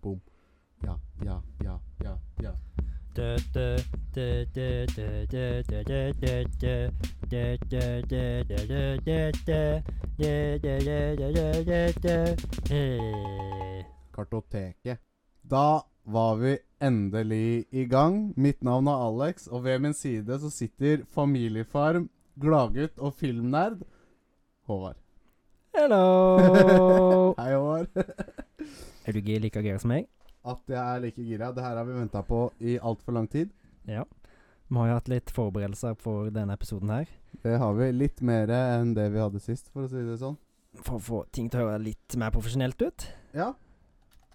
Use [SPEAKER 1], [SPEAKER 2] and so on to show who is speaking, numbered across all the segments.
[SPEAKER 1] boom. Ja, ja, ja, ja, ja.
[SPEAKER 2] Hei.
[SPEAKER 1] Kartoteket. Da var vi endelig i gang. Mitt navn er Alex, og ved min side så sitter familiefarm, gladgutt og filmnerd Håvard.
[SPEAKER 2] Hello!
[SPEAKER 1] Hei, Håvard.
[SPEAKER 2] Er du gi- like gira som meg?
[SPEAKER 1] At jeg er like gira. Det her har vi venta på i altfor lang tid.
[SPEAKER 2] Ja. Vi har jo hatt litt forberedelser for denne episoden her.
[SPEAKER 1] Det har vi litt mer enn det vi hadde sist, for å si det sånn.
[SPEAKER 2] For å få ting til å høre litt mer profesjonelt ut.
[SPEAKER 1] Ja.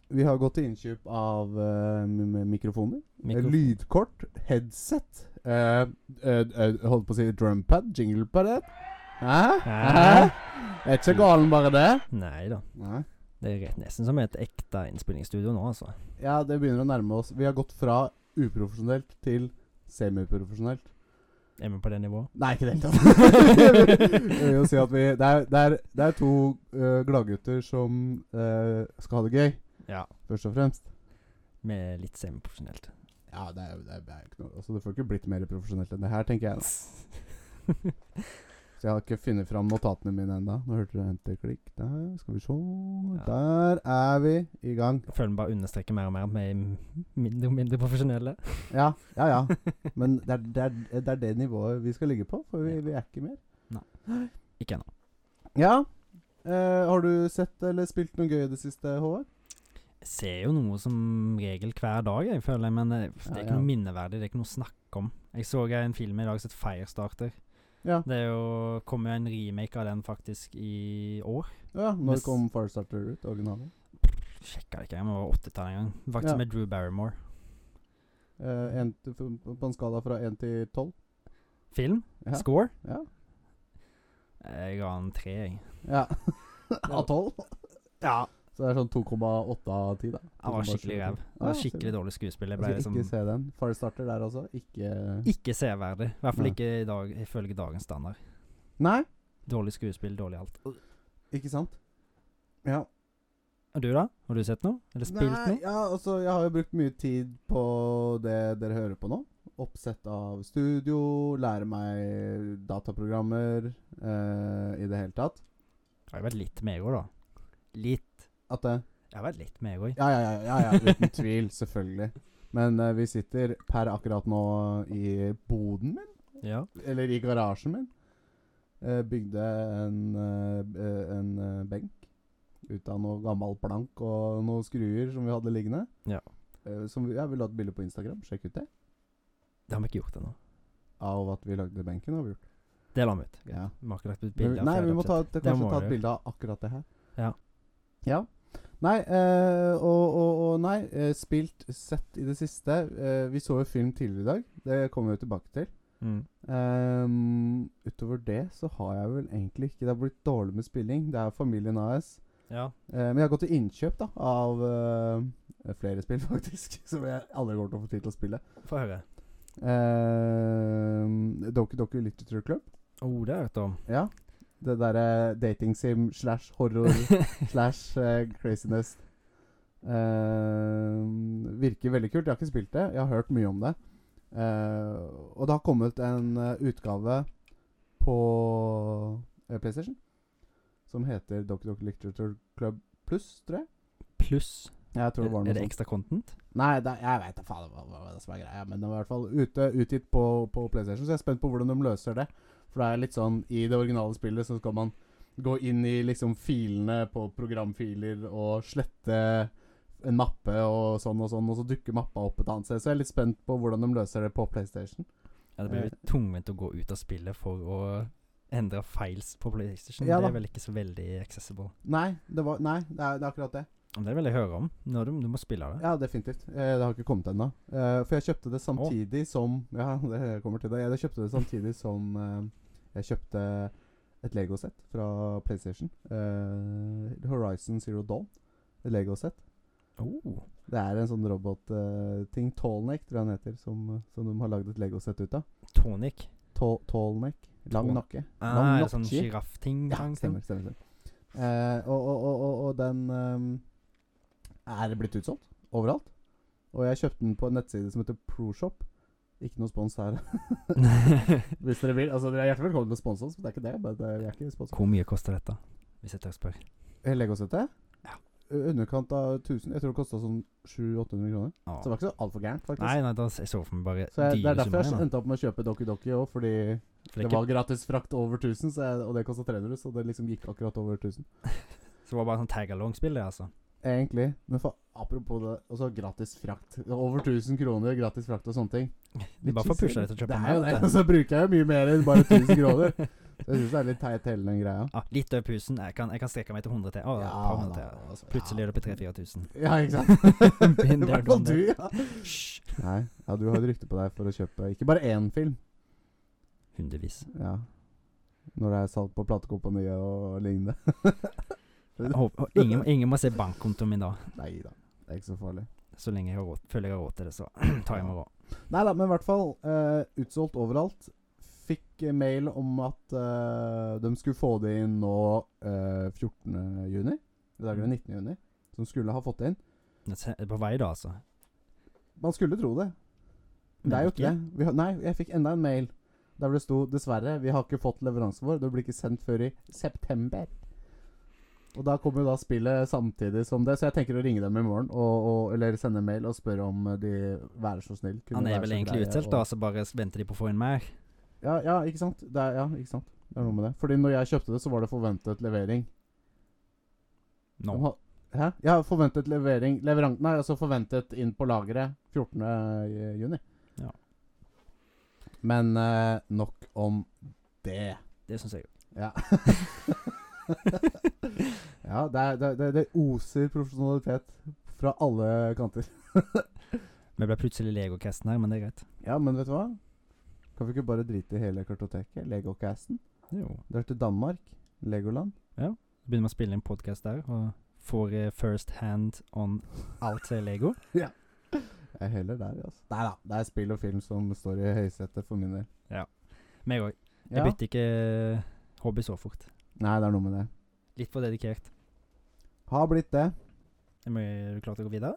[SPEAKER 1] Vi har gått til innkjøp av eh, m- m- mikrofoner.
[SPEAKER 2] Mikro-
[SPEAKER 1] Lydkort, headset eh, eh, eh, Holdt på å si drumpad, jinglepad eh. Hæ? Hæ?
[SPEAKER 2] Hæ?
[SPEAKER 1] Er ikke galen bare det?
[SPEAKER 2] Nei da.
[SPEAKER 1] Nei.
[SPEAKER 2] Det er rett nesten som et ekte innspillingsstudio nå, altså.
[SPEAKER 1] Ja, det begynner å nærme oss. Vi har gått fra uprofesjonelt til semiprofesjonelt.
[SPEAKER 2] Er vi på det nivået?
[SPEAKER 1] Nei, ikke i det hele tatt. Jeg vil jo si at vi, det, er, det, er, det er to uh, gladgutter som eh, skal ha det gøy,
[SPEAKER 2] Ja.
[SPEAKER 1] først og fremst.
[SPEAKER 2] Med litt semiprofesjonelt.
[SPEAKER 1] Ja, det er, det er, det er ikke noe Altså, det får ikke blitt mer profesjonelt enn det her, tenker jeg. da. Så jeg har ikke funnet fram notatene mine ennå. Nå hørte dere hente klikk der. Skal vi se
[SPEAKER 2] Ja.
[SPEAKER 1] Der er vi i gang.
[SPEAKER 2] Føler vi bare understreker mer og mer at vi er m- mindre og mindre profesjonelle.
[SPEAKER 1] Ja, ja, ja. Men det er det, er, det, er det nivået vi skal ligge på, for vi,
[SPEAKER 2] Ja.
[SPEAKER 1] vi er ikke mer.
[SPEAKER 2] Ikke ennå.
[SPEAKER 1] Ja. Eh, har du sett eller spilt noe gøy i det siste, Håvard?
[SPEAKER 2] Jeg ser jo noe som regel hver dag, jeg føler jeg, men eh, det
[SPEAKER 1] Ja,
[SPEAKER 2] er
[SPEAKER 1] ja.
[SPEAKER 2] ikke noe minneverdig. Det er ikke noe å snakke om. Jeg så en film i dag som het Firestarter.
[SPEAKER 1] Ja.
[SPEAKER 2] Det er jo, kom jo en remake av den faktisk i år.
[SPEAKER 1] ja når
[SPEAKER 2] Mest-
[SPEAKER 1] kom Firestarter ut? Originalen?
[SPEAKER 2] Sjekka det ikke, jeg må være 80-tallet en gang. Faktisk
[SPEAKER 1] Ja.
[SPEAKER 2] med Drew Barrymore.
[SPEAKER 1] Eh, en til, på en skala fra 1 til 12?
[SPEAKER 2] Film?
[SPEAKER 1] Ja.
[SPEAKER 2] Score?
[SPEAKER 1] Ja.
[SPEAKER 2] Jeg ga den tre, jeg.
[SPEAKER 1] ja. Av 12?
[SPEAKER 2] Ja.
[SPEAKER 1] Så det er sånn 2,8 av 10, da.
[SPEAKER 2] Han var
[SPEAKER 1] 2,7.
[SPEAKER 2] skikkelig ræv. Han
[SPEAKER 1] Ja,
[SPEAKER 2] var
[SPEAKER 1] ser du.
[SPEAKER 2] skikkelig dårlig skuespiller.
[SPEAKER 1] Jeg
[SPEAKER 2] Ble
[SPEAKER 1] skal
[SPEAKER 2] liksom
[SPEAKER 1] Altså, ikke se den. Firestarter der også? Ikke
[SPEAKER 2] ikke severdig. I hvert fall
[SPEAKER 1] Nei.
[SPEAKER 2] ikke i dag, ifølge dagens standard.
[SPEAKER 1] Nei,
[SPEAKER 2] Dårlig skuespill, dårlig alt.
[SPEAKER 1] ikke sant? Ja.
[SPEAKER 2] Og du, da? Har du sett noe? Eller spilt
[SPEAKER 1] Nei,
[SPEAKER 2] noe?
[SPEAKER 1] ja, altså, jeg har jo brukt mye tid på det dere hører på nå. Oppsett av studio, lære meg dataprogrammer eh, i det hele tatt.
[SPEAKER 2] Jeg har vært litt med i år, da. Litt.
[SPEAKER 1] At det
[SPEAKER 2] Jeg har vært litt med i går.
[SPEAKER 1] Ja, ja, ja, ja, ja uten tvil. Selvfølgelig. Men eh, vi sitter per akkurat nå i boden min,
[SPEAKER 2] Ja.
[SPEAKER 1] eller i garasjen min. Eh, bygde en, eh, eh, en eh, benk ut av noe gammel plank og noen skruer som vi hadde liggende.
[SPEAKER 2] Ja.
[SPEAKER 1] Eh, som vi, jeg vil ha et bilde på Instagram. Sjekk ut det.
[SPEAKER 2] Det har vi ikke gjort ennå.
[SPEAKER 1] av at vi lagde benken, har vi gjort.
[SPEAKER 2] Det la vi ut.
[SPEAKER 1] Ja.
[SPEAKER 2] Vi har ikke lagt ut
[SPEAKER 1] Men,
[SPEAKER 2] bilder.
[SPEAKER 1] nei,
[SPEAKER 2] fra
[SPEAKER 1] vi må ta,
[SPEAKER 2] oppsett.
[SPEAKER 1] et-
[SPEAKER 2] Det
[SPEAKER 1] kanskje
[SPEAKER 2] må
[SPEAKER 1] ta
[SPEAKER 2] vi
[SPEAKER 1] et
[SPEAKER 2] jo.
[SPEAKER 1] bilde av akkurat det her.
[SPEAKER 2] Ja.
[SPEAKER 1] Ja. Nei, eh, og, og, og nei, eh, spilt, sett i det siste. Eh, vi så jo film tidligere i dag. Det kommer vi jo tilbake til.
[SPEAKER 2] Mm.
[SPEAKER 1] Ehm, utover det så har jeg vel egentlig ikke Det har blitt dårlig med spilling. Det er familien AS.
[SPEAKER 2] Ja.
[SPEAKER 1] Eh, men jeg har gått til innkjøp da av eh, flere spill, faktisk. Som jeg aldri kommer til å få tid til å spille.
[SPEAKER 2] Få høre.
[SPEAKER 1] Uh, Doki Doki Literature Club.
[SPEAKER 2] Å, oh, det har jeg hørt om.
[SPEAKER 1] Ja. Det derre datingsim slash horror slash eh, craziness. Eh, virker veldig kult. Jeg har ikke spilt det. Jeg har hørt mye om det. Eh, og det har kommet en eh, utgave på eh, PlayStation som heter Doki Doki Literature Club Pluss, tror jeg.
[SPEAKER 2] Pluss.
[SPEAKER 1] Jeg tror det var
[SPEAKER 2] Er
[SPEAKER 1] noe
[SPEAKER 2] det
[SPEAKER 1] sånt.
[SPEAKER 2] ekstra content?
[SPEAKER 1] Nei, det, jeg veit da faen hva, hva, hva som er greia, men det var i hvert fall ute, utgitt på, på PlayStation, så jeg er spent på hvordan de løser det. For det er litt sånn I det originale spillet så skal man gå inn i liksom filene på programfiler og slette en mappe og sånn og sånn, og så dukker mappa opp et annet sted. Så jeg er litt spent på hvordan de løser det på PlayStation.
[SPEAKER 2] Ja, det blir jo tungvint å gå ut av spillet for å endre files på PlayStation.
[SPEAKER 1] Ja
[SPEAKER 2] det
[SPEAKER 1] da.
[SPEAKER 2] er vel ikke så veldig accessible.
[SPEAKER 1] Nei, det, var, nei, det, er, det er akkurat det.
[SPEAKER 2] Men Det vil jeg høre om. Når du, du må spille det.
[SPEAKER 1] Ja, definitivt. Eh, det har ikke kommet ennå. Eh, for jeg kjøpte det samtidig som Ja, det kommer til det. Jeg kjøpte det samtidig som eh, jeg kjøpte et Lego-sett fra PlayStation. Eh, Horizon Zero Dawn. Et Lego-sett.
[SPEAKER 2] Oh,
[SPEAKER 1] Det er en sånn robotting. Uh, Tallneck, tror jeg han heter, som, som de har lagd et Lego-sett ut av.
[SPEAKER 2] tonic.
[SPEAKER 1] Tall- Tallneck. Lang
[SPEAKER 2] Tall-
[SPEAKER 1] nakke. Lang
[SPEAKER 2] Ah, er det sånn
[SPEAKER 1] nakke.
[SPEAKER 2] sjiraffting?
[SPEAKER 1] Ja,
[SPEAKER 2] gang,
[SPEAKER 1] stemmer.
[SPEAKER 2] sånn?
[SPEAKER 1] stemmer, stemmer. Eh, og, og, og, og, og den eh, er blitt utsolgt. overalt. Og jeg kjøpte den på en nettside som heter ProShop. Ikke noe spons her, hvis dere vil. Altså, dere er hjertelig velkommen til å sponse oss, men det er ikke det. Bare, det vi er ikke sponset.
[SPEAKER 2] Hvor mye koster dette, hvis jeg tør spørre?
[SPEAKER 1] Legosette?
[SPEAKER 2] Ja.
[SPEAKER 1] Underkant av 1000. Jeg tror det kosta sånn 700-800 kroner.
[SPEAKER 2] Å.
[SPEAKER 1] Så det var ikke så altfor gærent, faktisk.
[SPEAKER 2] Nei, nei, da s- jeg så for meg bare
[SPEAKER 1] Så jeg, det er
[SPEAKER 2] dyre
[SPEAKER 1] derfor jeg
[SPEAKER 2] summer.
[SPEAKER 1] endte opp med å kjøpe Doki Doki òg, fordi
[SPEAKER 2] da. For
[SPEAKER 1] det
[SPEAKER 2] det var,
[SPEAKER 1] var gratis frakt over 1000, så jeg, og det kosta 300, så det liksom gikk akkurat over 1000.
[SPEAKER 2] så det var bare sånn tag-along-spill, det, altså.
[SPEAKER 1] Egentlig. Men for, apropos det, og så gratis frakt. Over 1000 kroner gratis frakt og sånne ting.
[SPEAKER 2] Det er bare for å pushe deg til å
[SPEAKER 1] Det
[SPEAKER 2] kjøpe
[SPEAKER 1] er jo det, altså.
[SPEAKER 2] mer, vet du.
[SPEAKER 1] og så bruker jeg jo mye mer enn bare 1000 kroner. Så jeg syns det er litt teit hele den greia.
[SPEAKER 2] Ja, litt over 1000. Jeg kan, jeg kan strekke meg til 100 til. Å, et par hundre
[SPEAKER 1] da,
[SPEAKER 2] til.
[SPEAKER 1] altså,
[SPEAKER 2] Plutselig
[SPEAKER 1] ja.
[SPEAKER 2] er det på 3000-4000.
[SPEAKER 1] Ja, ikke sant? I
[SPEAKER 2] Been there,
[SPEAKER 1] hvert fall
[SPEAKER 2] done
[SPEAKER 1] du,
[SPEAKER 2] that.
[SPEAKER 1] ja.
[SPEAKER 2] Hysj!
[SPEAKER 1] Nei, ja, du har et rykte på deg for å kjøpe ikke bare én film.
[SPEAKER 2] Hundrevis.
[SPEAKER 1] Ja. Når det er salg på platekompaniet og lignende.
[SPEAKER 2] Jeg håper- og Ingen, ingen må se bankkontoen min da.
[SPEAKER 1] Nei da, det er ikke så farlig.
[SPEAKER 2] Så lenge jeg har råd, føler jeg har råd til det, så tar jeg meg råd.
[SPEAKER 1] Nei da, men i hvert fall. eh, utsolgt overalt. Fikk eh, mail om at eh, de skulle få det inn nå eh, 14. juni. I dag er det 19. juni. Som skulle ha fått det inn.
[SPEAKER 2] Men se- er På vei, da, altså.
[SPEAKER 1] Man skulle tro det. Det er jo ikke det. Vi har, nei, jeg fikk enda en mail der hvor det sto 'Dessverre, vi har ikke fått leveransen vår. Det blir ikke sendt før i september'. Og da kommer jo da spillet samtidig som det, så jeg tenker å ringe dem i morgen og, og, eller sende en mail og spørre om eh, de være så snill kunne
[SPEAKER 2] Han er
[SPEAKER 1] være
[SPEAKER 2] vel
[SPEAKER 1] så
[SPEAKER 2] egentlig
[SPEAKER 1] greie
[SPEAKER 2] utsolgt,
[SPEAKER 1] og-
[SPEAKER 2] da, så bare s- venter de på å få inn mer.
[SPEAKER 1] Ja, ja, ikke sant? Det er, ja, ikke sant? Det er noe med det. Fordi når jeg kjøpte det, så var det forventet levering.
[SPEAKER 2] Nå.
[SPEAKER 1] De har- Hæ? Ja, forventet levering. Leveranten er altså forventet inn på lageret 14. juni.
[SPEAKER 2] Ja.
[SPEAKER 1] Men eh, nok om det.
[SPEAKER 2] Det syns jeg jo.
[SPEAKER 1] Ja. ja, det, er, det, det, det oser profesjonalitet fra alle kanter.
[SPEAKER 2] Vi ble plutselig Lego-casten her, men det er greit.
[SPEAKER 1] Ja, men vet du hva? Kan vi ikke bare drite i hele kartoteket? Legocasten?
[SPEAKER 2] Jo.
[SPEAKER 1] Du er til Danmark. Legoland.
[SPEAKER 2] Begynner med å spille inn podkast der, og får eh, first hand on alt til Lego.
[SPEAKER 1] Jeg er heller der, altså. Nei da, det er spill og film som står i høysetet for min del.
[SPEAKER 2] Meg òg. Jeg
[SPEAKER 1] Ja.
[SPEAKER 2] bytter ikke eh, hobby så fort.
[SPEAKER 1] Nei, det er noe med det.
[SPEAKER 2] Litt for dedikert.
[SPEAKER 1] Har blitt det.
[SPEAKER 2] Er vi- er du klar til å gå videre?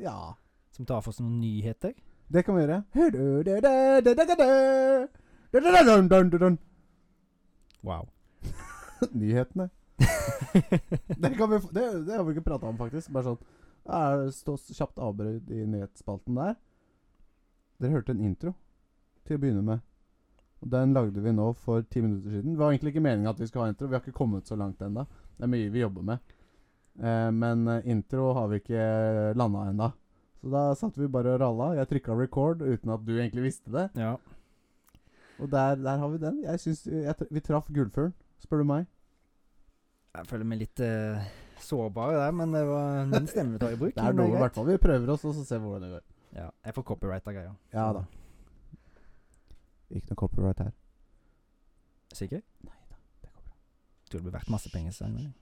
[SPEAKER 1] Ja.
[SPEAKER 2] Som tar for oss noen nyheter?
[SPEAKER 1] Det kan vi gjøre. Du-du-du-du-du-du-du-du.
[SPEAKER 2] Wow.
[SPEAKER 1] Nyhetene. Det, kan vi, få- det, det har vi ikke prata om, faktisk. Bare sånn ja, Stå kjapt avbrudd i nyhetsspalten der. Dere hørte en intro til å begynne med. Og Den lagde vi nå for ti minutter siden. Det var egentlig ikke meninga at vi skulle ha intro. Vi har ikke kommet så langt ennå. Det er mye vi jobber med. Eh, men eh, intro har vi ikke landa ennå. Så da satt vi bare og ralla. Jeg trykka record uten at du egentlig visste det.
[SPEAKER 2] Ja.
[SPEAKER 1] Og der, der har vi den. Jeg syns jeg, tr- Vi traff gullfuglen, spør du meg.
[SPEAKER 2] Jeg føler meg litt eh, sårbar der, men det var min stemme vi tar i bruk.
[SPEAKER 1] Det er
[SPEAKER 2] men
[SPEAKER 1] noe, i
[SPEAKER 2] greit.
[SPEAKER 1] hvert fall. Vi prøver oss, og så ser vi hvordan det går.
[SPEAKER 2] Ja, jeg får copyright av greia.
[SPEAKER 1] Ja da. Ikke noe copyright her.
[SPEAKER 2] Sikker?
[SPEAKER 1] Nei da, det går bra.
[SPEAKER 2] Tror det blir verdt masse penger. Så jeg mener.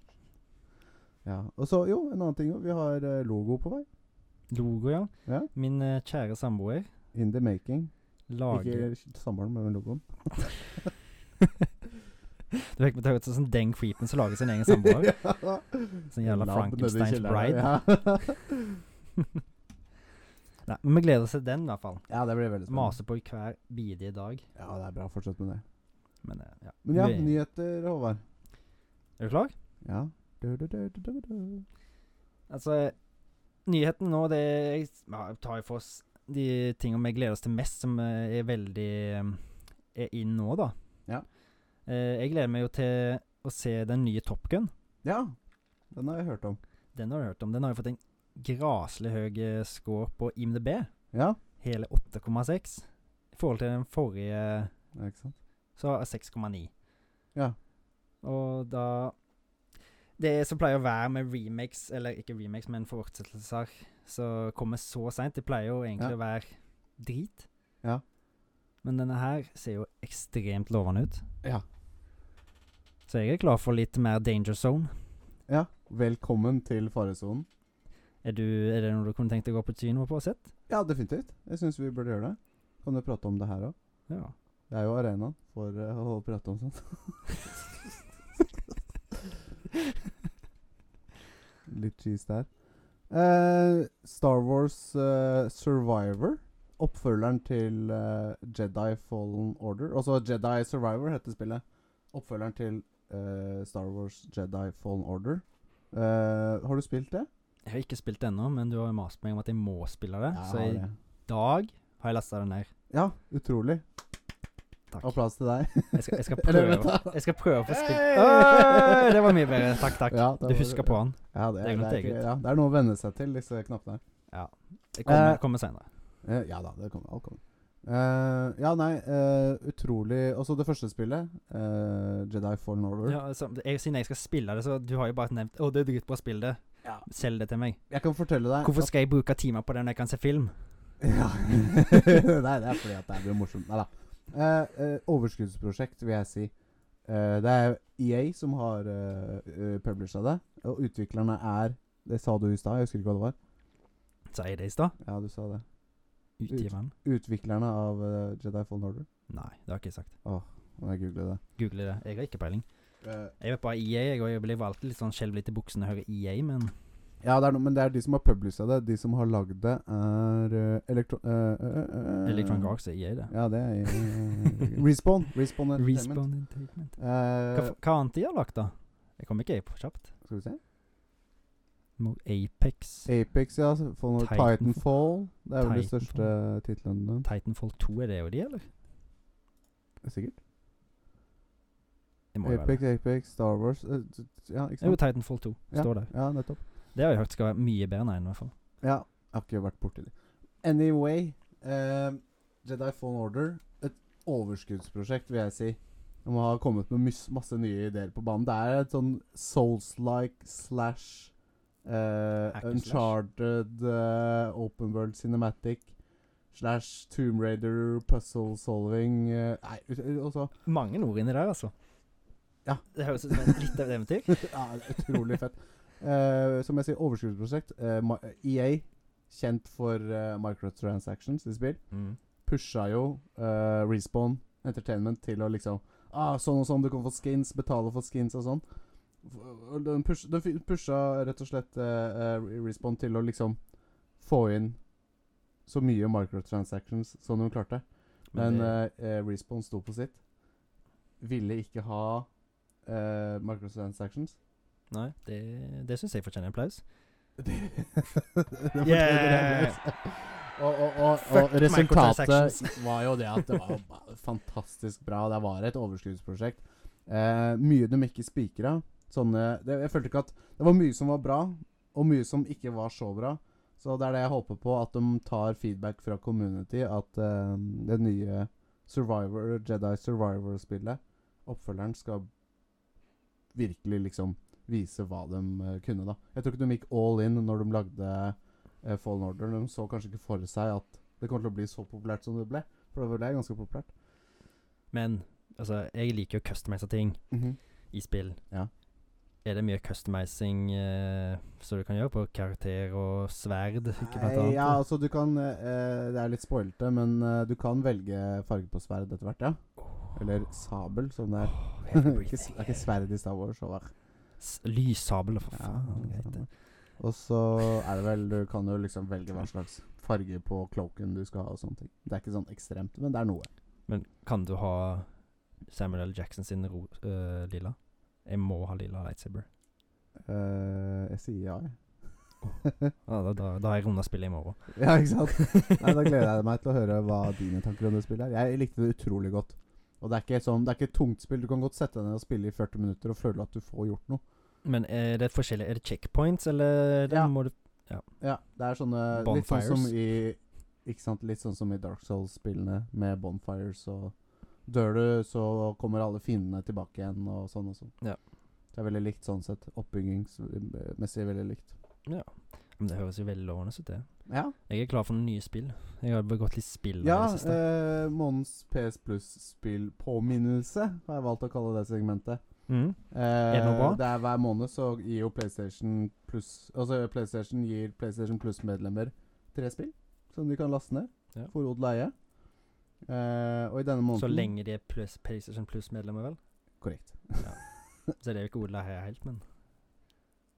[SPEAKER 1] Ja, Og så, jo, en annen ting òg. Vi har eh, logo på vei.
[SPEAKER 2] Logo, ja.
[SPEAKER 1] Ja.
[SPEAKER 2] Min eh, kjære samboer
[SPEAKER 1] In the making.
[SPEAKER 2] lager
[SPEAKER 1] Ikke samboeren, men logoen.
[SPEAKER 2] Du fikk meg til å høre ut som sånn Deng Creepen som lager sin egen samboer. Sånn jævla
[SPEAKER 1] Lab nede i
[SPEAKER 2] Frankensteins
[SPEAKER 1] kjelleren,
[SPEAKER 2] bride.
[SPEAKER 1] Ja.
[SPEAKER 2] Nei, men vi gleder oss til den, i hvert fall.
[SPEAKER 1] ja, det blir veldig spennende.
[SPEAKER 2] Maser på i hver bidige dag.
[SPEAKER 1] Ja, det er bra. Fortsett med det.
[SPEAKER 2] Men eh, ja.
[SPEAKER 1] Men ja,
[SPEAKER 2] Vi-
[SPEAKER 1] nyheter, Håvard.
[SPEAKER 2] Er du klar?
[SPEAKER 1] Ja. Du, du, du, du, du, du.
[SPEAKER 2] Altså, nyheten nå, det jeg s- ja, jeg tar jo for oss de tingene vi gleder oss til mest, som eh, er veldig eh, er inn nå, da.
[SPEAKER 1] Ja.
[SPEAKER 2] Eh, jeg gleder meg jo til å se den nye Top Gun.
[SPEAKER 1] Ja. Den har jeg hørt om.
[SPEAKER 2] Den har du hørt om. Den har jo fått en graslig høy eh, score på IMDb.
[SPEAKER 1] Ja.
[SPEAKER 2] Hele 8,6. I forhold til den forrige
[SPEAKER 1] Ja, Ikke sant?
[SPEAKER 2] så er 6,9.
[SPEAKER 1] Ja.
[SPEAKER 2] Og da Det som pleier å være med remakes, eller ikke remakes, men fortsettelser som kommer så seint, det pleier jo egentlig
[SPEAKER 1] Ja.
[SPEAKER 2] å være drit.
[SPEAKER 1] Ja.
[SPEAKER 2] Men denne her ser jo ekstremt lovende ut.
[SPEAKER 1] Ja.
[SPEAKER 2] Så jeg er klar for litt mer danger zone.
[SPEAKER 1] ja. Velkommen til faresonen.
[SPEAKER 2] Er, du, er det noe du kunne tenkt deg å gå på kino på og sett?
[SPEAKER 1] Ja, definitivt. Jeg syns vi burde gjøre det. Kan jo prate om det her òg.
[SPEAKER 2] Ja.
[SPEAKER 1] Det er jo arenaen for eh, å prate om sånt. Litt cheese der. Eh, Star Wars eh, Survivor. Oppfølgeren til eh, Jedi Fallen Order. Altså Jedi Survivor heter spillet. Oppfølgeren til eh, Star Wars Jedi Fallen Order. Eh, har du spilt det?
[SPEAKER 2] Jeg har ikke spilt det ennå, men du har jo mast meg om at jeg må spille det. så
[SPEAKER 1] har
[SPEAKER 2] i
[SPEAKER 1] det.
[SPEAKER 2] dag har jeg lasta det ned.
[SPEAKER 1] ja utrolig.
[SPEAKER 2] Takk.
[SPEAKER 1] Applaus til deg.
[SPEAKER 2] Jeg skal, jeg skal
[SPEAKER 1] Eller,
[SPEAKER 2] prøve,
[SPEAKER 1] vent da.
[SPEAKER 2] jeg skal prøve å få spilt
[SPEAKER 1] Hey!
[SPEAKER 2] Øy, Det var mye bedre. Takk, takk.
[SPEAKER 1] Ja, det
[SPEAKER 2] Du
[SPEAKER 1] var-
[SPEAKER 2] husker på han.
[SPEAKER 1] Ja, det,
[SPEAKER 2] Det er
[SPEAKER 1] det,
[SPEAKER 2] noe
[SPEAKER 1] er, ikke-
[SPEAKER 2] eget.
[SPEAKER 1] ja, det er noe å venne seg til, disse knappene.
[SPEAKER 2] Det kommer,
[SPEAKER 1] Eh.
[SPEAKER 2] kommer senere.
[SPEAKER 1] Eh, ja da, det kommer. Alt kommer. Eh, ja, nei, eh, utrolig Også det første spillet, eh, Jedi Fallen Order.
[SPEAKER 2] Ja, så, jeg, siden jeg skal spille det, så du har jo bare nevnt Å, det er dritbra spill, det.
[SPEAKER 1] Ja.
[SPEAKER 2] Selg det til meg.
[SPEAKER 1] Jeg kan fortelle deg
[SPEAKER 2] Hvorfor skal jeg bruke timer på det når jeg kan se film?
[SPEAKER 1] Ja. Nei, det er fordi at det blir morsomt. Nei da. Eh, eh, overskuddsprosjekt, vil jeg si. Eh, det er EA som har uh, publisha det. Og utviklerne er Det sa du i stad, jeg husker ikke hva det var.
[SPEAKER 2] Sa jeg det i stad?
[SPEAKER 1] Ja, du sa det.
[SPEAKER 2] Utgiveren?
[SPEAKER 1] Utviklerne av eh, Jedi Fallen Order.
[SPEAKER 2] Nei, det har jeg ikke sagt.
[SPEAKER 1] Må jeg google det.
[SPEAKER 2] Google det. Jeg har ikke peiling.
[SPEAKER 1] Eh,
[SPEAKER 2] Jeg vet bare EA, jeg, og jeg blir alltid litt sånn skjelv litt i buksen når jeg hører EA, men
[SPEAKER 1] ja, det er noe, men det er de som har publisha det. De som har lagd det, er uh, Elektro... eh, eh, eh,
[SPEAKER 2] Electronic Arts E er EA, det.
[SPEAKER 1] Ja, det er eh, Respawn. Respawn Entertainment.
[SPEAKER 2] Respawn Entertainment. Hva,
[SPEAKER 1] Eh,
[SPEAKER 2] f- hva annet de har lagt, da? Jeg kommer ikke jeg på kjapt.
[SPEAKER 1] skal vi se
[SPEAKER 2] Mo- Apex.
[SPEAKER 1] Apex, ja. Få noe
[SPEAKER 2] Titanfall.
[SPEAKER 1] Titanfall. Det er vel de
[SPEAKER 2] Titanfall.
[SPEAKER 1] største titlene dine.
[SPEAKER 2] Titanfall 2, er det jo de, eller?
[SPEAKER 1] Sikkert.
[SPEAKER 2] Det må jo være
[SPEAKER 1] Apex,
[SPEAKER 2] det.
[SPEAKER 1] Apex, Star Wars eh, t- t- Ja, ikke
[SPEAKER 2] Jo,
[SPEAKER 1] sant?
[SPEAKER 2] Titanfall 2 står der.
[SPEAKER 1] Ja, nettopp.
[SPEAKER 2] Det har jeg hørt skal være mye bedre enn én, i hvert fall.
[SPEAKER 1] Ja, jeg har ikke vært borti det. Anyway, eh, Jedi Fallen Order, et overskuddsprosjekt, vil jeg si. De har kommet med mys- masse nye ideer på banen. Det er et sånn Souls-like slash eh,
[SPEAKER 2] Hack and slash.
[SPEAKER 1] Uncharted eh, Open World Cinematic slash Tomb Raider Puzzle Solving eh, Nei, ut- også
[SPEAKER 2] Mange ord inni der, altså.
[SPEAKER 1] Ja.
[SPEAKER 2] Det høres ut som et litt av et eventyr.
[SPEAKER 1] ja, Utrolig fett. Eh, som jeg sier, overskuddsprosjekt. Eh, Ma- EA, kjent for eh, microtransactions i spill.
[SPEAKER 2] Mm.
[SPEAKER 1] pusha jo eh, Respawn Entertainment til å liksom ah, Sånn og sånn, du kan få skins, betale for skins og sånn. F- og Den, push, den fi- pusha rett og slett eh, eh, Respawn til å liksom få inn så mye microtransactions som de klarte. Men
[SPEAKER 2] det,
[SPEAKER 1] eh, eh, Respawn sto på sitt. Ville ikke ha eh, microtransactions.
[SPEAKER 2] nei, det, det syns jeg fortjener applaus.
[SPEAKER 1] Det fortjener
[SPEAKER 2] Yeah!
[SPEAKER 1] jeg. Og, og, og, og
[SPEAKER 2] Fuck
[SPEAKER 1] resultatet
[SPEAKER 2] microtransactions.
[SPEAKER 1] var jo det at det var ba- fantastisk bra. Det var et overskuddsprosjekt. Eh, mye de ikke spikra. Sånne det, Jeg følte ikke at Det var mye som var bra, og mye som ikke var så bra. Så det er det jeg håper på, at de tar feedback fra community. At eh, det nye Survivor, Jedi Survivor-spillet, oppfølgeren, skal virkelig liksom vise hva de eh, kunne, da. Jeg tror ikke de gikk all in når de lagde eh, Fallen Order. De så kanskje ikke for seg at det kommer til å bli så populært som det ble. For det ble ganske populært.
[SPEAKER 2] Men altså, jeg liker jo å customize ting
[SPEAKER 1] Mhm.
[SPEAKER 2] i spill.
[SPEAKER 1] Ja.
[SPEAKER 2] Er det mye customizing eh, som du kan gjøre på karakter og sverd? Ikke blant
[SPEAKER 1] Nei,
[SPEAKER 2] annet?
[SPEAKER 1] ja, altså du kan eh, Det er litt spoilete, men eh, du kan velge farge på sverd etter hvert, ja. Eller sabel, som det er. Ikke
[SPEAKER 2] Åh, heavy
[SPEAKER 1] s-
[SPEAKER 2] breathing.
[SPEAKER 1] det er ikke sverd i Star Wars. Og,
[SPEAKER 2] S- Lyssabel, for
[SPEAKER 1] Ja,
[SPEAKER 2] faen.
[SPEAKER 1] det er
[SPEAKER 2] greit det.
[SPEAKER 1] og så er det vel Du kan jo liksom velge hva slags farge på cloaken du skal ha og sånne ting. Det er ikke sånn ekstremt, men det er noe.
[SPEAKER 2] Men kan du ha Samuel L. Jackson sin ro, øh, lilla? Jeg må ha lilla lightsaber.
[SPEAKER 1] Eh, jeg sier ja, jeg.
[SPEAKER 2] Ja, da, da, da har jeg runda spillet i morgen.
[SPEAKER 1] Ja, ikke sant? Nei, da gleder jeg meg til å høre hva dine tanker om det spillet er. Jeg likte det utrolig godt. Og det er ikke, sånn, det er ikke et tungt spill. Du kan godt sette deg ned og spille i 40 minutter og føle at du får gjort noe.
[SPEAKER 2] Men er det forskjellig Er det checkpoints, eller er det
[SPEAKER 1] Ja.
[SPEAKER 2] må du
[SPEAKER 1] Ja, det er sånne litt sånn som
[SPEAKER 2] Bonfires.
[SPEAKER 1] i Ikke sant, litt sånn som i Dark Souls-spillene med bonfires og Dør du, så kommer alle fiendene tilbake igjen og sånn og sånn.
[SPEAKER 2] Ja.
[SPEAKER 1] Det er veldig likt sånn sett. Oppbyggingsmessig veldig likt.
[SPEAKER 2] Ja. Men det høres jo veldig lovende ut, det.
[SPEAKER 1] Ja,
[SPEAKER 2] Jeg er klar for noen nye spill. Jeg har begått litt spill
[SPEAKER 1] ja
[SPEAKER 2] i det siste.
[SPEAKER 1] eh, Månens PS Pluss-spillpåminnelse har jeg valgt å kalle det segmentet.
[SPEAKER 2] mm.
[SPEAKER 1] Eh,
[SPEAKER 2] det noe bra?
[SPEAKER 1] det er hver måned så gir jo PlayStation Plus Altså PlayStation gir PlayStation Plus-medlemmer tre spill som de kan laste ned
[SPEAKER 2] Ja.
[SPEAKER 1] for odel og eie. Eh, og i denne måneden
[SPEAKER 2] Så lenge de er plus, PlayStation Plus-medlemmer, vel.
[SPEAKER 1] Korrekt.
[SPEAKER 2] Så det er jo ikke Ola her helt, men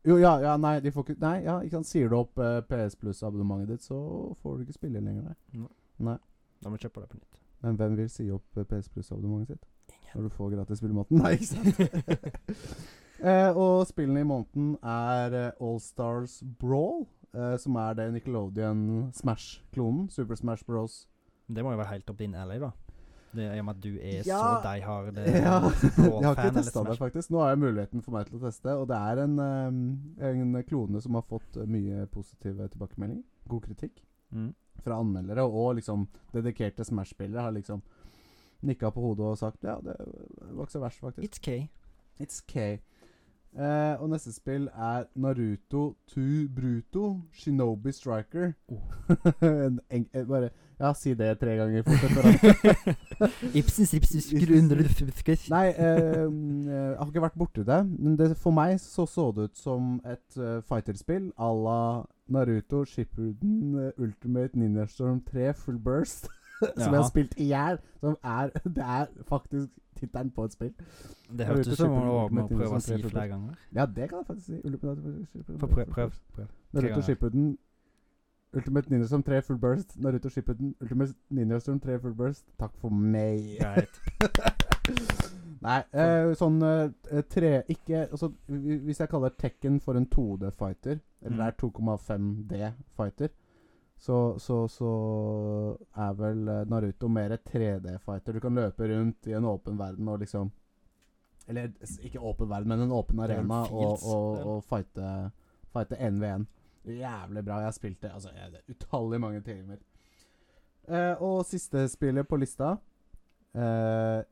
[SPEAKER 1] Jo, ja, ja, nei, de får ikke Nei, ja, ikke sant. Sier du opp eh, PS Plus-abonnementet ditt, så får du ikke spille lenger, nei.
[SPEAKER 2] Da må du kjøpe det på nytt.
[SPEAKER 1] Men hvem vil si opp eh, PS Plus-abonnementet sitt? Når du får gratis spillematen? Nei, ikke sant? eh, og spillene i måneden er eh, All Stars Brawl, eh, som er det Nickelodeon Smash-klonen. Super Smash Bros.
[SPEAKER 2] Det må jo være helt opp din alley, da. Det er I og med at du er så eh,
[SPEAKER 1] Ja.
[SPEAKER 2] deg hard
[SPEAKER 1] Ja. Jeg har ikke testa det,
[SPEAKER 2] det.
[SPEAKER 1] faktisk. Nå har jeg muligheten for meg til å teste, og det er en, eh, en klone som har fått eh, mye positive tilbakemeldinger. God kritikk
[SPEAKER 2] Mm.
[SPEAKER 1] fra anmeldere, og liksom dedikerte Smash-spillere har liksom nikka på hodet og sagt ja, det var ikke så verst, faktisk.
[SPEAKER 2] It's K.
[SPEAKER 1] It's K. Eh, og neste spill er Naruto to Bruto Shinobi Striker.
[SPEAKER 2] Oh.
[SPEAKER 1] en eng eh, bare Ja, si det tre ganger fort etter hverandre.
[SPEAKER 2] Ibsens ripsus grunner Nei.
[SPEAKER 1] Nei, eh, mm, eh, jeg har ikke vært borti det. Men det, for meg så så det ut som et eh, fighterspill à la Naruto Shippuden eh, Ultimate Ninja Storm 3 Full Burst. som jeg
[SPEAKER 2] Jaha.
[SPEAKER 1] har spilt i hjel. Som er Det er faktisk tittelen på et spill.
[SPEAKER 2] Det
[SPEAKER 1] Jeg vet
[SPEAKER 2] hørtes
[SPEAKER 1] ikke
[SPEAKER 2] ut som
[SPEAKER 1] om
[SPEAKER 2] å
[SPEAKER 1] det
[SPEAKER 2] må
[SPEAKER 1] kommer til
[SPEAKER 2] prøve
[SPEAKER 1] å
[SPEAKER 2] å si
[SPEAKER 1] se på
[SPEAKER 2] flere ganger.
[SPEAKER 1] Ja, det kan jeg faktisk si. Ultimate Shippuden
[SPEAKER 2] Få
[SPEAKER 1] Full
[SPEAKER 2] prøv, prøv,
[SPEAKER 1] Burst.
[SPEAKER 2] prøv.
[SPEAKER 1] Naruto
[SPEAKER 2] ganger.
[SPEAKER 1] Shippuden Ultimate Ninja Storm 3 Full Burst. Naruto Shippuden Ultimate Ninja Storm 3 Full Burst. Takk for meg.
[SPEAKER 2] Greit.
[SPEAKER 1] Nei, eh, sånn eh, tre Ikke altså, hvi- Hvis jeg kaller Tekken for en 2D-fighter, eller det er 2,5D-fighter, så, så, så er vel eh, Naruto mer et 3D-fighter. Du kan løpe rundt i en åpen verden og liksom Eller s- ikke åpen verden, men en åpen
[SPEAKER 2] Det er vel
[SPEAKER 1] arena og,
[SPEAKER 2] fields,
[SPEAKER 1] og,
[SPEAKER 2] vel?
[SPEAKER 1] og fighte, fighte NV1. Jævlig bra. Jeg har spilt det altså, jeg- det er utallig mange timer. Eh, og siste spillet på lista eh,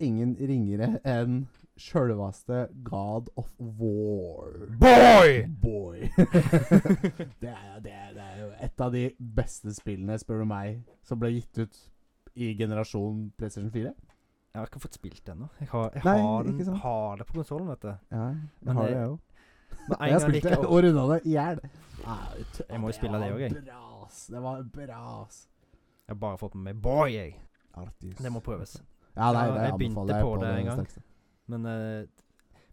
[SPEAKER 1] Ingen ringere enn sjølveste God of War.
[SPEAKER 2] Boy!
[SPEAKER 1] Boy. det, er, det, er, det er jo et av de beste spillene, spør du meg, som ble gitt ut i generasjon PlayStation 4.
[SPEAKER 2] Jeg har ikke fått spilt det ennå. Jeg, har, jeg
[SPEAKER 1] Nei,
[SPEAKER 2] har, den,
[SPEAKER 1] ikke sant.
[SPEAKER 2] har det på konsollen, vet du.
[SPEAKER 1] Ja,
[SPEAKER 2] Men det-
[SPEAKER 1] jeg òg.
[SPEAKER 2] Men en
[SPEAKER 1] Jeg
[SPEAKER 2] gang
[SPEAKER 1] spilte
[SPEAKER 2] like,
[SPEAKER 1] og runda det i hjel.
[SPEAKER 2] Jeg må jo spille det også, jeg.
[SPEAKER 1] Bra, ass. Det var bra, ass.
[SPEAKER 2] Jeg har bare fått med meg Boy, jeg.
[SPEAKER 1] Artis.
[SPEAKER 2] Det må prøves.
[SPEAKER 1] Ja, nei,
[SPEAKER 2] Ja,
[SPEAKER 1] det
[SPEAKER 2] jeg begynte
[SPEAKER 1] anbefaler jeg
[SPEAKER 2] på
[SPEAKER 1] på
[SPEAKER 2] det
[SPEAKER 1] det
[SPEAKER 2] en gang.
[SPEAKER 1] sterkeste.
[SPEAKER 2] Men eh,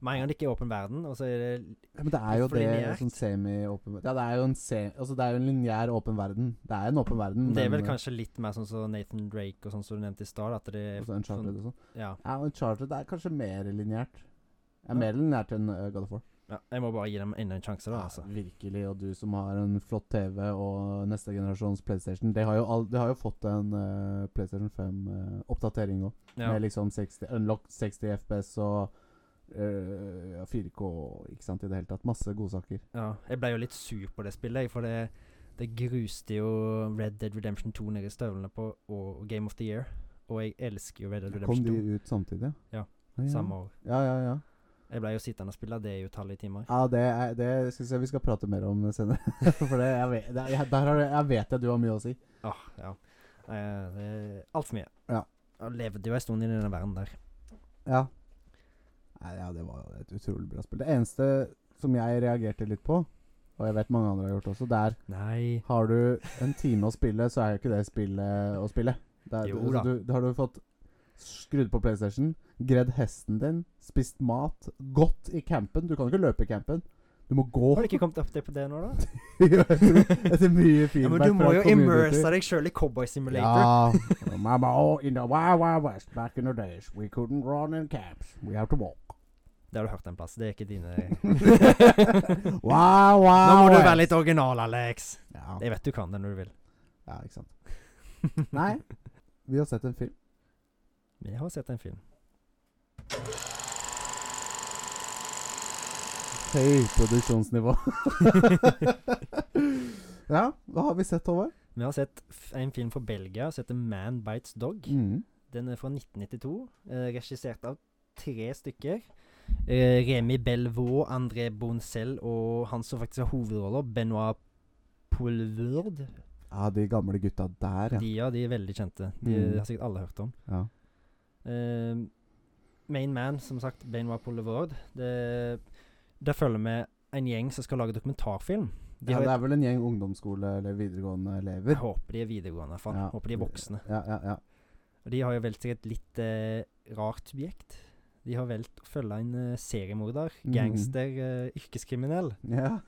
[SPEAKER 2] med en gang det ikke er åpen verden, og så er det
[SPEAKER 1] Ja, Men det er jo
[SPEAKER 2] For
[SPEAKER 1] det
[SPEAKER 2] lineært.
[SPEAKER 1] sånn semi-åpen Ja, det er jo en, se- altså, det er jo en lineær åpen verden. Det er en åpen verden,
[SPEAKER 2] Det er vel
[SPEAKER 1] men, eh,
[SPEAKER 2] kanskje litt mer sånn som Nathan Drake og sånn som du nevnte i stad. At det er
[SPEAKER 1] også Uncharted
[SPEAKER 2] sånn,
[SPEAKER 1] og sånn.
[SPEAKER 2] ja.
[SPEAKER 1] Ja, Uncharted er kanskje mer lineært. Er
[SPEAKER 2] Ja.
[SPEAKER 1] mer lineært enn eh, God of War.
[SPEAKER 2] ja. Jeg må bare gi dem enda en sjanse, da. altså.
[SPEAKER 1] Ja, virkelig. Og du som har en flott TV og neste generasjons PlayStation. Det har jo, all, det har jo fått en eh, PlayStation 5-oppdatering òg,
[SPEAKER 2] Ja.
[SPEAKER 1] med liksom 60, unlocked 60 FPS og eh, ja, 4K og ikke sant, i det hele tatt. Masse godsaker.
[SPEAKER 2] ja. Jeg ble jo litt sur på det spillet, jeg, for det, det gruste jo Red Dead Redemption 2 nede i støvlene på og Game of the Year. Og jeg elsker jo Red Dead
[SPEAKER 1] Kom
[SPEAKER 2] Redemption
[SPEAKER 1] de ut samtidig?
[SPEAKER 2] Ja,
[SPEAKER 1] ja.
[SPEAKER 2] 2 samme år.
[SPEAKER 1] Ja, ja, ja.
[SPEAKER 2] Jeg ble jo sittende og spille det i utallige timer.
[SPEAKER 1] ja det, er, det syns jeg vi skal prate mer om senere. For det, jeg, vet, det, er- jeg, der har, du- jeg vet jeg du har mye å si.
[SPEAKER 2] Ah, ja. Eh, det er Altfor mye.
[SPEAKER 1] Ja.
[SPEAKER 2] Jeg levde jo en stund i denne verden der.
[SPEAKER 1] Ja. Nei, ja, det var et utrolig bra spill. Det eneste som jeg reagerte litt på, og jeg vet mange andre har gjort også, det er
[SPEAKER 2] Nei
[SPEAKER 1] Har du en time å spille, så er jo ikke det spillet å spille. Det er,
[SPEAKER 2] Jo
[SPEAKER 1] altså,
[SPEAKER 2] da.
[SPEAKER 1] Du, da har du fått skrudd på PlayStation, gredd hesten din, spist mat, gått i campen. Du kan ikke løpe i campen. Du må gå.
[SPEAKER 2] Har det ikke kommet opp det på det nå, da?
[SPEAKER 1] Etter mye feedback
[SPEAKER 2] Ja, men du må
[SPEAKER 1] fra
[SPEAKER 2] jo
[SPEAKER 1] community.
[SPEAKER 2] immerse deg sjøl i Cowboy Simulator.
[SPEAKER 1] Ja. Mama, oh, in the wild, wild west, back in the days, we couldn't run in camps. We have to walk.
[SPEAKER 2] Det har du hørt en plass. Det er ikke dine
[SPEAKER 1] wow, wow.
[SPEAKER 2] Nå må du være litt original, Alex.
[SPEAKER 1] ja.
[SPEAKER 2] Jeg vet du kan det når du vil.
[SPEAKER 1] ja, ikke sant. Nei, vi har sett en film.
[SPEAKER 2] Men jeg har sett en film.
[SPEAKER 1] Høy produksjonsnivå. ja, hva har vi sett, Håvard?
[SPEAKER 2] Vi har sett f- en film fra Belgia som heter Man Bites Dog.
[SPEAKER 1] Mm.
[SPEAKER 2] Den er fra 1992. Eh, regissert av tre stykker. Eh, Remi Belvaux, André Boncel og han som faktisk har hovedroller, Benoit Poulvord.
[SPEAKER 1] Ja, de gamle gutta der, ja.
[SPEAKER 2] De, ja, de er veldig kjente. De
[SPEAKER 1] Mm.
[SPEAKER 2] har sikkert alle hørt om.
[SPEAKER 1] ja.
[SPEAKER 2] Eh, main man, som sagt, Benoit Poulvord. Det, der følger vi en gjeng som skal lage dokumentarfilm. De
[SPEAKER 1] ja.
[SPEAKER 2] har
[SPEAKER 1] Det er vel en gjeng ungdomsskole- eller videregående-elever.
[SPEAKER 2] Jeg håper de er videregående, faen.
[SPEAKER 1] Ja.
[SPEAKER 2] Håper de er voksne.
[SPEAKER 1] Ja, ja, ja.
[SPEAKER 2] Og de har jo valgt seg et litt eh, rart objekt. De har valgt å følge en eh, seriemorder,
[SPEAKER 1] Mhm.
[SPEAKER 2] gangster, eh, yrkeskriminell,
[SPEAKER 1] Ja.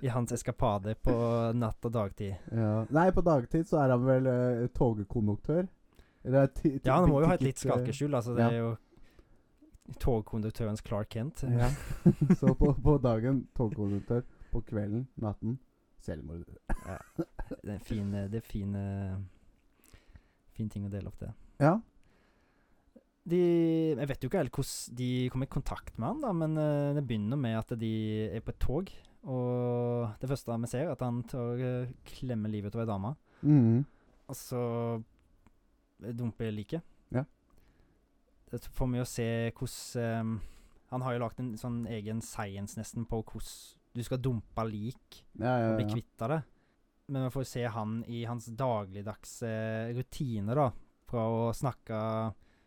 [SPEAKER 2] i hans eskapade på natt og dagtid.
[SPEAKER 1] Ja. Nei, på dagtid så er han vel eh, togkonduktør. Eller ti- ti-
[SPEAKER 2] Ja, han må jo ha et
[SPEAKER 1] tikket-
[SPEAKER 2] litt skalkeskjul, altså. Det
[SPEAKER 1] eh, ja.
[SPEAKER 2] er jo togkonduktørens Clark Kent. eh,
[SPEAKER 1] Ja. så på, på dagen togkonduktør, på kvelden, natten, selvmorder.
[SPEAKER 2] Det er en fin, eh, det er fin, eh, fin ting å dele opp det.
[SPEAKER 1] Ja.
[SPEAKER 2] De, jeg vet jo ikke helt hvordan de kom i kontakt med han, da, men eh, det begynner med at de er på et tog. Og det første vi ser, er at han tar, eh, klemmer livet ut av ei dame.
[SPEAKER 1] Mhm.
[SPEAKER 2] Og så dumper liket.
[SPEAKER 1] Ja.
[SPEAKER 2] Så får vi jo se hvordan eh, Han har jo lagd en sånn egen science nesten på hvordan du skal dumpe lik
[SPEAKER 1] ja, ja,
[SPEAKER 2] og bli
[SPEAKER 1] ja.
[SPEAKER 2] kvitt av det. Men vi får se han i hans dagligdagse rutiner, da. Fra å snakke,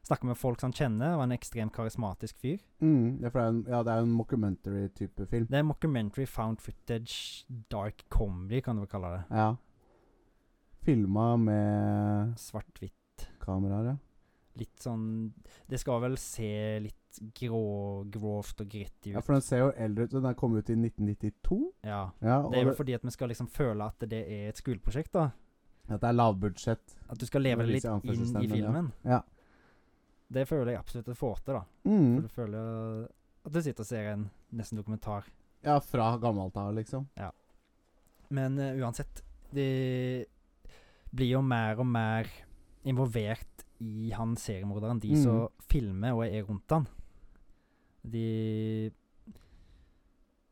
[SPEAKER 2] snakke med folk som han kjenner. Var en ekstremt karismatisk fyr.
[SPEAKER 1] Mhm. Ja, for det er en, ja, det er en mockumentary-type film.
[SPEAKER 2] Det er mockumentary found footage, dark comedy, kan du vel kalle det.
[SPEAKER 1] Ja. Filma med
[SPEAKER 2] Svart-hvitt.
[SPEAKER 1] kameraer, ja.
[SPEAKER 2] Litt sånn Det skal vel se litt grå, grovt og gritty
[SPEAKER 1] ja.
[SPEAKER 2] ut.
[SPEAKER 1] For den ser jo eldre ut. Den er kommet ut i 1992.
[SPEAKER 2] Ja.
[SPEAKER 1] Ja, og
[SPEAKER 2] Det er vel fordi at vi skal liksom føle at det er et skoleprosjekt, da.
[SPEAKER 1] at det er lavbudsjett.
[SPEAKER 2] At du skal
[SPEAKER 1] Det
[SPEAKER 2] leve
[SPEAKER 1] er
[SPEAKER 2] det litt
[SPEAKER 1] litt
[SPEAKER 2] inn i
[SPEAKER 1] anførselstegn,
[SPEAKER 2] filmen.
[SPEAKER 1] Ja.
[SPEAKER 2] Det føler jeg absolutt at du får til, da. For
[SPEAKER 1] Mhm.
[SPEAKER 2] du føler at du sitter og ser en nesten dokumentar.
[SPEAKER 1] Ja, fra gammelt av, liksom.
[SPEAKER 2] Men eh, uansett, de blir jo mer og mer involvert i han seriemorderen, de
[SPEAKER 1] Mhm.
[SPEAKER 2] som filmer og er rundt han. De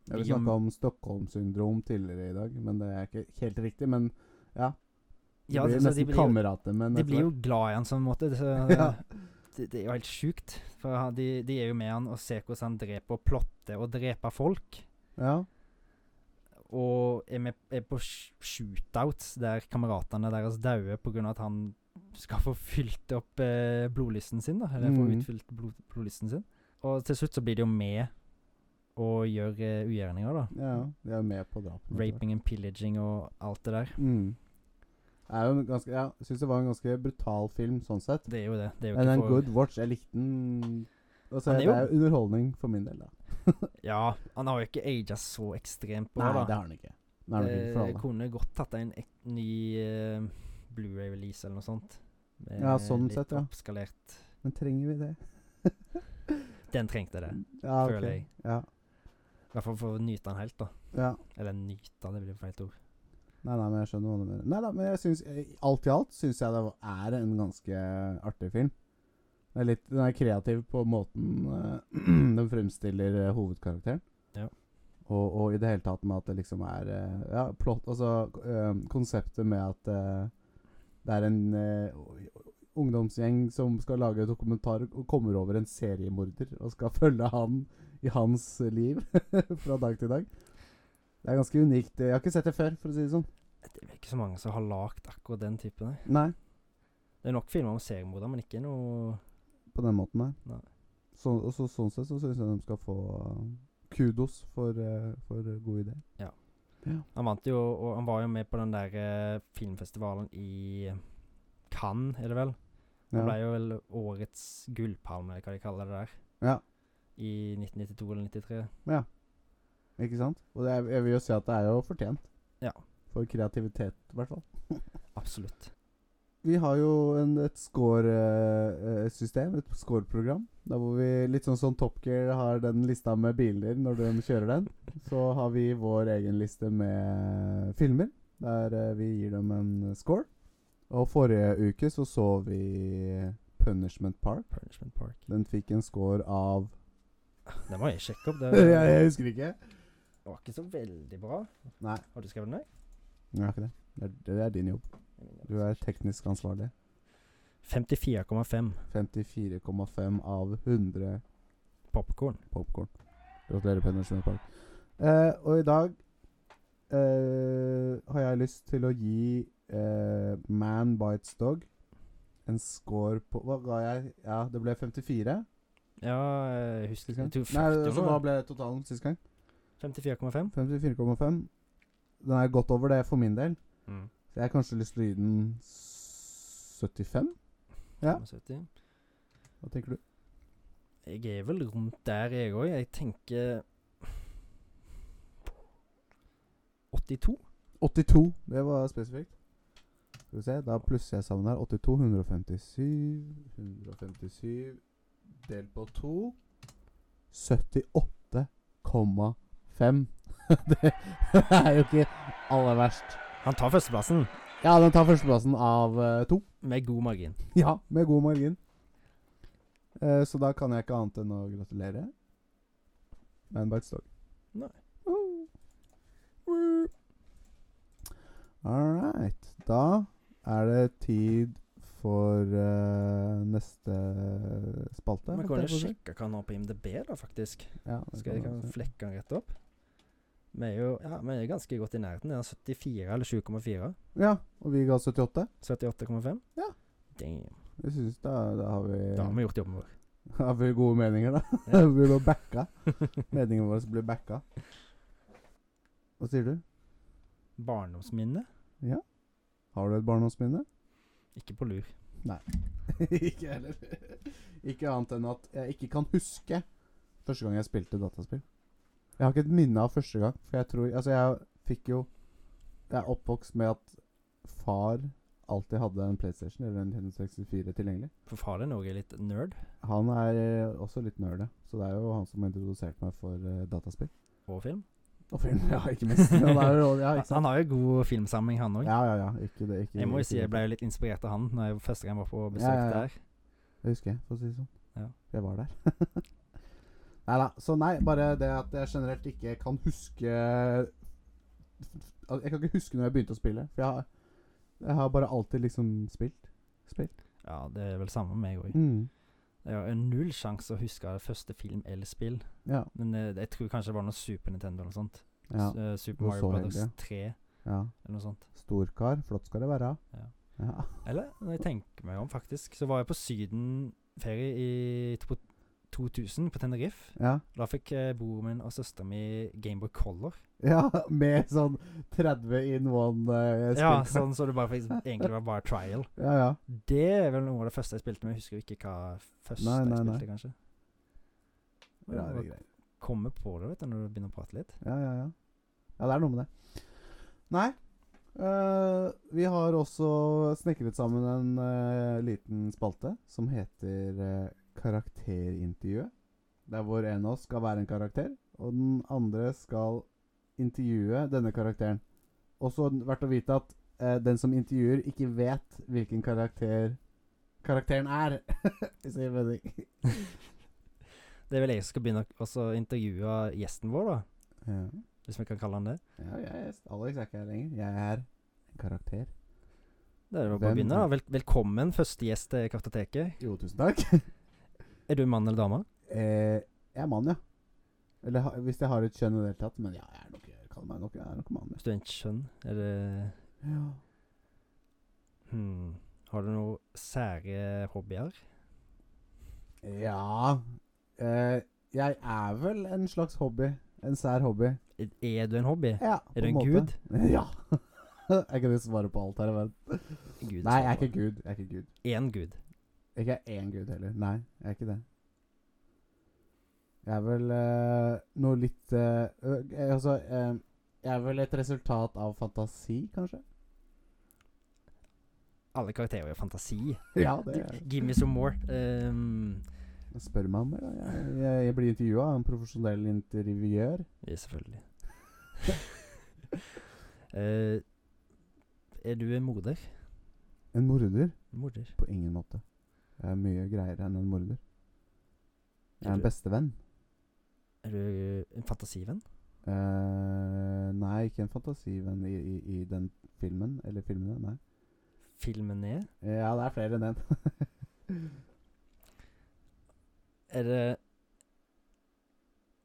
[SPEAKER 1] Ja, vi
[SPEAKER 2] Liam-
[SPEAKER 1] snakka om Stockholm-syndrom tidligere i dag, men det er ikke helt riktig. Men det
[SPEAKER 2] Ja,
[SPEAKER 1] blir
[SPEAKER 2] altså, de
[SPEAKER 1] nesten
[SPEAKER 2] blir jo
[SPEAKER 1] kamerater. Men
[SPEAKER 2] De
[SPEAKER 1] etter
[SPEAKER 2] blir
[SPEAKER 1] hvert.
[SPEAKER 2] jo glad i han sånn måte. Så,
[SPEAKER 1] Ja.
[SPEAKER 2] det, det er jo helt sjukt. For han- de, de er jo med han og ser hvordan han dreper og plotter og dreper folk.
[SPEAKER 1] ja.
[SPEAKER 2] Og er med er på sh- shootouts der kameratene deres dauer pga. at han skal få fylt opp eh, blodlysten sin. da Eller få
[SPEAKER 1] Mhm.
[SPEAKER 2] utfylt blod, blodlysten sin. Og til slutt så blir de jo med og gjør eh, ugjerninger, da.
[SPEAKER 1] ja, de er med på drapene. etter hvert.
[SPEAKER 2] Raping and pillaging og alt det der.
[SPEAKER 1] Mm. Det er jo en ganske, ja, jeg syns det var en ganske brutal film sånn sett.
[SPEAKER 2] Det er jo det. det er jo
[SPEAKER 1] Men
[SPEAKER 2] ikke
[SPEAKER 1] en
[SPEAKER 2] for-
[SPEAKER 1] good watch. Jeg likte den altså,
[SPEAKER 2] Han er
[SPEAKER 1] Det
[SPEAKER 2] jo-
[SPEAKER 1] er jo underholdning for min del, da.
[SPEAKER 2] Ja, han har jo ikke aga så ekstremt på
[SPEAKER 1] Nei,
[SPEAKER 2] da. Eh,
[SPEAKER 1] det har den ikke. Den er nok ikke for
[SPEAKER 2] Jeg
[SPEAKER 1] alle.
[SPEAKER 2] kunne godt tatt en ek ny eh, Blu-ray-release eller noe sånt. Med
[SPEAKER 1] Ja, sånn
[SPEAKER 2] litt
[SPEAKER 1] sett, ja.
[SPEAKER 2] oppskalert.
[SPEAKER 1] Men trenger vi det?
[SPEAKER 2] Den trengte det.
[SPEAKER 1] Ja, ok.
[SPEAKER 2] Føler jeg.
[SPEAKER 1] Ja.
[SPEAKER 2] I hvert fall for å nyte den helt, da.
[SPEAKER 1] ja.
[SPEAKER 2] Eller nyte den, det blir feil ord.
[SPEAKER 1] Nei, nei, men jeg skjønner hva du mener. Nei da, men jeg synes, eh, alt i alt syns jeg det var- er en ganske artig film. Den er, litt, den er kreativ på måten eh, den fremstiller eh, hovedkarakteren.
[SPEAKER 2] Ja.
[SPEAKER 1] Og, og i det hele tatt med at det liksom er eh, Ja, plott Altså eh, konseptet med at eh, det er en eh, ungdomsgjeng som skal lage dokumentar og kommer over en seriemorder og skal følge han i hans liv fra dag til dag. Det er ganske unikt. Jeg har ikke sett det før, for å si det sånn.
[SPEAKER 2] Det er vel ikke så mange som har lagd akkurat den typen.
[SPEAKER 1] Nei,
[SPEAKER 2] nei. Det er nok filmer om seriemorder, men ikke noe
[SPEAKER 1] på den måten her.
[SPEAKER 2] Nei.
[SPEAKER 1] Så, og så, sånn sett så syns jeg de skal få eh, kudos for, eh, for eh, gode ideer.
[SPEAKER 2] Han vant jo, og han var jo med på den der eh, filmfestivalen i Cannes, er det vel? Han ble
[SPEAKER 1] Ja.
[SPEAKER 2] jo vel årets gullpalme, eller hva de kaller det der,
[SPEAKER 1] ja,
[SPEAKER 2] i 1992 eller 93.
[SPEAKER 1] ikke sant? Og det er, jeg vil jo si at det er jo fortjent.
[SPEAKER 2] Ja.
[SPEAKER 1] For kreativitet, i hvert fall.
[SPEAKER 2] Absolutt.
[SPEAKER 1] Vi har jo en, et score-system, et score-program. Der hvor vi, litt sånn som Top Gear har den lista med biler når de kjører den, så har vi vår egen liste med filmer, der eh, vi gir dem en score. Og forrige uke så så vi Punishment Park.
[SPEAKER 2] Punishment Park.
[SPEAKER 1] Den fikk en score av
[SPEAKER 2] Den må jeg sjekke opp.
[SPEAKER 1] jeg,
[SPEAKER 2] Det
[SPEAKER 1] jeg husker ikke.
[SPEAKER 2] Det var ikke så veldig bra.
[SPEAKER 1] Nei.
[SPEAKER 2] Har du skrevet den ned?
[SPEAKER 1] Jeg har ikke det. Det er, det er din jobb. Du er teknisk ansvarlig.
[SPEAKER 2] 54,5
[SPEAKER 1] 54,5 av 100
[SPEAKER 2] popkorn.
[SPEAKER 1] popkorn. Gratulerer, Punishment Park. Eh, og i dag eh, har jeg lyst til å gi eh, Man Bites Dog en score på Hva ga jeg? Ja, det ble 54
[SPEAKER 2] Ja, jeg husker
[SPEAKER 1] sist gang.
[SPEAKER 2] jeg tror
[SPEAKER 1] Nei,
[SPEAKER 2] 40
[SPEAKER 1] altså,
[SPEAKER 2] nå.
[SPEAKER 1] hva ble totalen sist gang?
[SPEAKER 2] 54,5.
[SPEAKER 1] 54,5. Den er godt over det for min del.
[SPEAKER 2] Mm.
[SPEAKER 1] Så jeg har kanskje lyst til å gi den 75. Ja.
[SPEAKER 2] 75.
[SPEAKER 1] Hva tenker du?
[SPEAKER 2] Jeg er vel rundt der, jeg òg. Jeg tenker 82.
[SPEAKER 1] 82, det var spesifikt. Skal vi se, da plusser jeg sammen her. 82, 157 157 delt på 2 78,5. det er jo ikke aller verst.
[SPEAKER 2] Han tar førsteplassen
[SPEAKER 1] Ja, den tar førsteplassen av eh, to.
[SPEAKER 2] med god margin.
[SPEAKER 1] Ja, med god margin. Eh, så da kan jeg ikke annet enn å gratulere. Man bites dog.
[SPEAKER 2] Nei.
[SPEAKER 1] Woo. Woo. All right. Da er det tid for eh, neste spalte.
[SPEAKER 2] Vi
[SPEAKER 1] holdt
[SPEAKER 2] kan
[SPEAKER 1] jeg på
[SPEAKER 2] jo
[SPEAKER 1] å si.
[SPEAKER 2] sjekke hva han har på IMDb, da, faktisk.
[SPEAKER 1] Ja, det
[SPEAKER 2] Skal jeg
[SPEAKER 1] kan
[SPEAKER 2] kan
[SPEAKER 1] man si.
[SPEAKER 2] flekke han rett opp? Vi er jo ja, vi er ganske godt i nærheten. Det er 74 eller 7,4.
[SPEAKER 1] ja, og vi ga 78.
[SPEAKER 2] 78,5?
[SPEAKER 1] Ja.
[SPEAKER 2] Damn.
[SPEAKER 1] Jeg synes da, da har vi
[SPEAKER 2] Da har vi gjort jobben vår.
[SPEAKER 1] Har vi gode meninger, da?
[SPEAKER 2] Ja.
[SPEAKER 1] vi blir backa. Meningene våre blir backa. Hva sier du?
[SPEAKER 2] Barndomsminne?
[SPEAKER 1] Har du et barndomsminne?
[SPEAKER 2] Ikke på lur.
[SPEAKER 1] ikke heller. Ikke annet enn at jeg ikke kan huske første gang jeg spilte dataspill. Jeg har ikke et minne av første gang, for jeg tror Altså, jeg fikk jo Jeg er oppvokst med at far alltid hadde en PlayStation eller en Nintendo 64 tilgjengelig.
[SPEAKER 2] For far din òg er litt nerd
[SPEAKER 1] Han er eh, også litt nerde, så det er jo han som har introdusert meg for eh, dataspill.
[SPEAKER 2] på film.
[SPEAKER 1] Og film, ja, ikke minst. Han er jo ja, ikke
[SPEAKER 2] Han
[SPEAKER 1] sant?
[SPEAKER 2] har jo god filmsamling, Altså, han òg.
[SPEAKER 1] Ja, ja, ja. Ikke det, ikke
[SPEAKER 2] Jeg må jo
[SPEAKER 1] ikke
[SPEAKER 2] si jeg
[SPEAKER 1] det.
[SPEAKER 2] ble jo litt inspirert av han Når jeg første gang var på besøk
[SPEAKER 1] Ja, ja, ja.
[SPEAKER 2] der.
[SPEAKER 1] Det husker jeg, for å si det sånn.
[SPEAKER 2] Ja.
[SPEAKER 1] Jeg var der. nei da. Så nei, bare det at jeg generelt ikke kan huske Jeg kan ikke huske når jeg begynte å spille. For jeg har, jeg har bare alltid liksom spilt. Spilt.
[SPEAKER 2] Ja, det er vel samme med meg òg.
[SPEAKER 1] Mm.
[SPEAKER 2] Jeg har null sjanse å huske det første film eller spill.
[SPEAKER 1] Ja.
[SPEAKER 2] Men eh, jeg tror kanskje det var noe Super Nintendo eller noe sånt.
[SPEAKER 1] ja.
[SPEAKER 2] S- eh, Super
[SPEAKER 1] var
[SPEAKER 2] Mario
[SPEAKER 1] så
[SPEAKER 2] Brothers
[SPEAKER 1] heldig.
[SPEAKER 2] 3
[SPEAKER 1] ja.
[SPEAKER 2] eller noe sånt.
[SPEAKER 1] Storkar. Flott skal det være.
[SPEAKER 2] Ja.
[SPEAKER 1] Ja.
[SPEAKER 2] Eller når jeg tenker meg om, faktisk, så var jeg på sydenferie i to- 2000 på Tenerife.
[SPEAKER 1] ja.
[SPEAKER 2] Da fikk eh, broren min og søsteren min Gameboy Color.
[SPEAKER 1] Ja, Med sånn 30 in one eh,
[SPEAKER 2] Ja,
[SPEAKER 1] spill.
[SPEAKER 2] sånn så det bare faktisk egentlig var bare trial.
[SPEAKER 1] ja, ja.
[SPEAKER 2] Det er vel noe av det første jeg spilte, men jeg husker jo ikke hva første
[SPEAKER 1] Nei, nei,
[SPEAKER 2] jeg
[SPEAKER 1] nei.
[SPEAKER 2] spilte, kanskje. Men
[SPEAKER 1] Rare
[SPEAKER 2] jeg
[SPEAKER 1] greier.
[SPEAKER 2] Kommer på det vet du, når du begynner å prate litt.
[SPEAKER 1] Ja, ja, ja. Ja, det er noe med det. Nei. eh, vi har også snekret sammen en eh, liten spalte som heter eh, Karakterintervjuet. Der hvor en av oss skal være en karakter, og den andre skal intervjue denne karakteren. Også verdt å vite at eh, den som intervjuer, ikke vet hvilken karakter karakteren er. Hvis jeg mener
[SPEAKER 2] Det er vel jeg som skal begynne å også intervjue gjesten vår, da.
[SPEAKER 1] ja.
[SPEAKER 2] Hvis vi kan kalle han det.
[SPEAKER 1] ja, jeg er Alex er ikke her lenger. Jeg er en karakter.
[SPEAKER 2] Det er jo bare å
[SPEAKER 1] Hvem
[SPEAKER 2] begynne, da. Vel velkommen, første gjest til Kartoteket.
[SPEAKER 1] Jo, tusen takk.
[SPEAKER 2] Er du mann eller dame?
[SPEAKER 1] Eh, jeg er mann, ja. Eller ha, hvis jeg har et kjønn i det hele tatt. Men ja, jeg er nok, jeg kaller meg nok, jeg er nok mann.
[SPEAKER 2] Hvis du er en kjønn, er det
[SPEAKER 1] Ja. Ja.
[SPEAKER 2] hmm, Har du noen sære hobbyer?
[SPEAKER 1] ja. Eh, jeg er vel en slags hobby. En sær hobby.
[SPEAKER 2] Er- Er du en hobby?
[SPEAKER 1] Ja,
[SPEAKER 2] Er du en gud?
[SPEAKER 1] Ja. jeg kan jo svare på alt her i verden.
[SPEAKER 2] Gud,
[SPEAKER 1] Nei, jeg er ikke gud. Jeg er ikke gud.
[SPEAKER 2] Én gud.
[SPEAKER 1] Jeg er ikke én gud heller. Nei, jeg er ikke det. Jeg er vel eh, noe litt eh, ø- eh, Altså eh, Jeg er vel et resultat av fantasi, kanskje?
[SPEAKER 2] Alle karakterer er fantasi.
[SPEAKER 1] Ja, det er det.
[SPEAKER 2] Give me some more. Um,
[SPEAKER 1] Spør meg om det. da. Jeg, jeg, jeg blir intervjua av en profesjonell intervjuer.
[SPEAKER 2] Ja, selvfølgelig. Eh, er du en morder?
[SPEAKER 1] En morder?
[SPEAKER 2] Morder.
[SPEAKER 1] På ingen måte. Jeg er mye greiere enn en morder. Jeg er
[SPEAKER 2] Er
[SPEAKER 1] en
[SPEAKER 2] du,
[SPEAKER 1] bestevenn.
[SPEAKER 2] er du en fantasivenn?
[SPEAKER 1] Eh, nei, ikke en fantasivenn i, i, i den filmen. Eller filmene, nei.
[SPEAKER 2] Filmen er
[SPEAKER 1] Ja, det er flere enn én.
[SPEAKER 2] Er det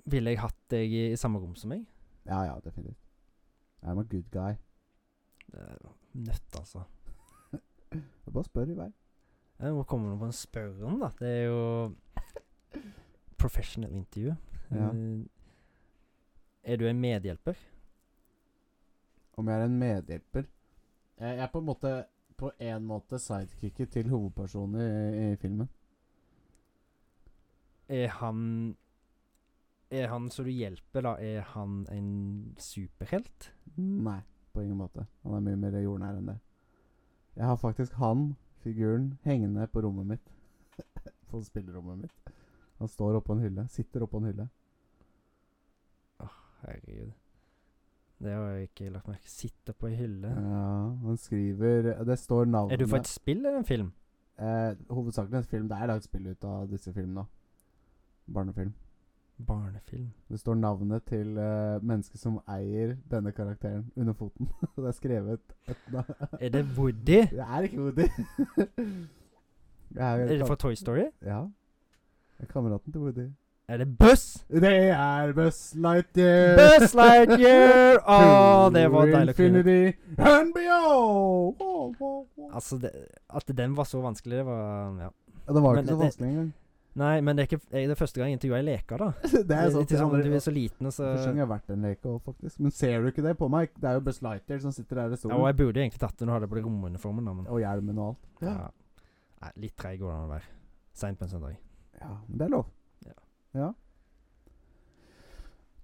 [SPEAKER 2] Ville jeg hatt deg i, i samme rom som meg?
[SPEAKER 1] ja, ja, definitivt. I'm a good guy.
[SPEAKER 2] Det er nødt, altså.
[SPEAKER 1] Jeg bare spør i vei.
[SPEAKER 2] Jeg må komme noe på en spørren, da. Det er jo professional intervju.
[SPEAKER 1] Ja.
[SPEAKER 2] Eh, er du en medhjelper?
[SPEAKER 1] Om jeg er en medhjelper Eh, Jeg er på en måte På en måte sidekicket til hovedpersonen i, i filmen.
[SPEAKER 2] Er han Er han som du hjelper, da, er han en superhelt?
[SPEAKER 1] Nei, på ingen måte. Han er mye mer jordnær enn det. Jeg har faktisk han, figuren, hengende på rommet mitt. på spillerommet mitt. Han står oppå en hylle. Sitter oppå en hylle.
[SPEAKER 2] Herregud. Det har jeg ikke lagt merke Sitter på ei hylle.
[SPEAKER 1] Ja, Eh, han skriver Det står navnet
[SPEAKER 2] Er du for et spill eller en film?
[SPEAKER 1] eh, Hovedsakelig en film. Det er lagd spill ut av disse filmene. også. Barnefilm.
[SPEAKER 2] Barnefilm.
[SPEAKER 1] Det står navnet til eh, mennesket som eier denne karakteren, under foten. det er skrevet et navn.
[SPEAKER 2] Er det Woody?
[SPEAKER 1] Det er ikke Woody. Jeg er,
[SPEAKER 2] Er det fra Toy Story?
[SPEAKER 1] Ja. Det er kameraten til Woody.
[SPEAKER 2] Er det Buzz?
[SPEAKER 1] Det er Buzz Lightyear.
[SPEAKER 2] Buzz Lightyear! Å, det var
[SPEAKER 1] To
[SPEAKER 2] deilig å kunne.
[SPEAKER 1] Infinity and beyond! Oh, oh, oh.
[SPEAKER 2] Altså, det, at den var så vanskelig, det var um, Ja.
[SPEAKER 1] Ja, den var jo
[SPEAKER 2] men
[SPEAKER 1] ikke så
[SPEAKER 2] det-
[SPEAKER 1] vanskelig engang.
[SPEAKER 2] Nei, men det er ikke jeg, det er første gang jeg intervjuer ei leke, da.
[SPEAKER 1] det er sant.
[SPEAKER 2] Til eh,
[SPEAKER 1] jeg
[SPEAKER 2] sånn,
[SPEAKER 1] aldri-
[SPEAKER 2] du er så liten, og så
[SPEAKER 1] Første gang jeg har vært en leke òg, faktisk. Men ser du ikke det på meg? Det er jo Buzz Lightyear som sitter der i
[SPEAKER 2] Ja, og
[SPEAKER 1] stolen.
[SPEAKER 2] jeg burde jo egentlig tatt det når jeg hadde på det romuniformen, da, men
[SPEAKER 1] Og hjelmen og alt.
[SPEAKER 2] ja. Nei, Litt treig går det an å være. Seint på en søndag.
[SPEAKER 1] Ja, men det er lov.
[SPEAKER 2] Ja.
[SPEAKER 1] Ja.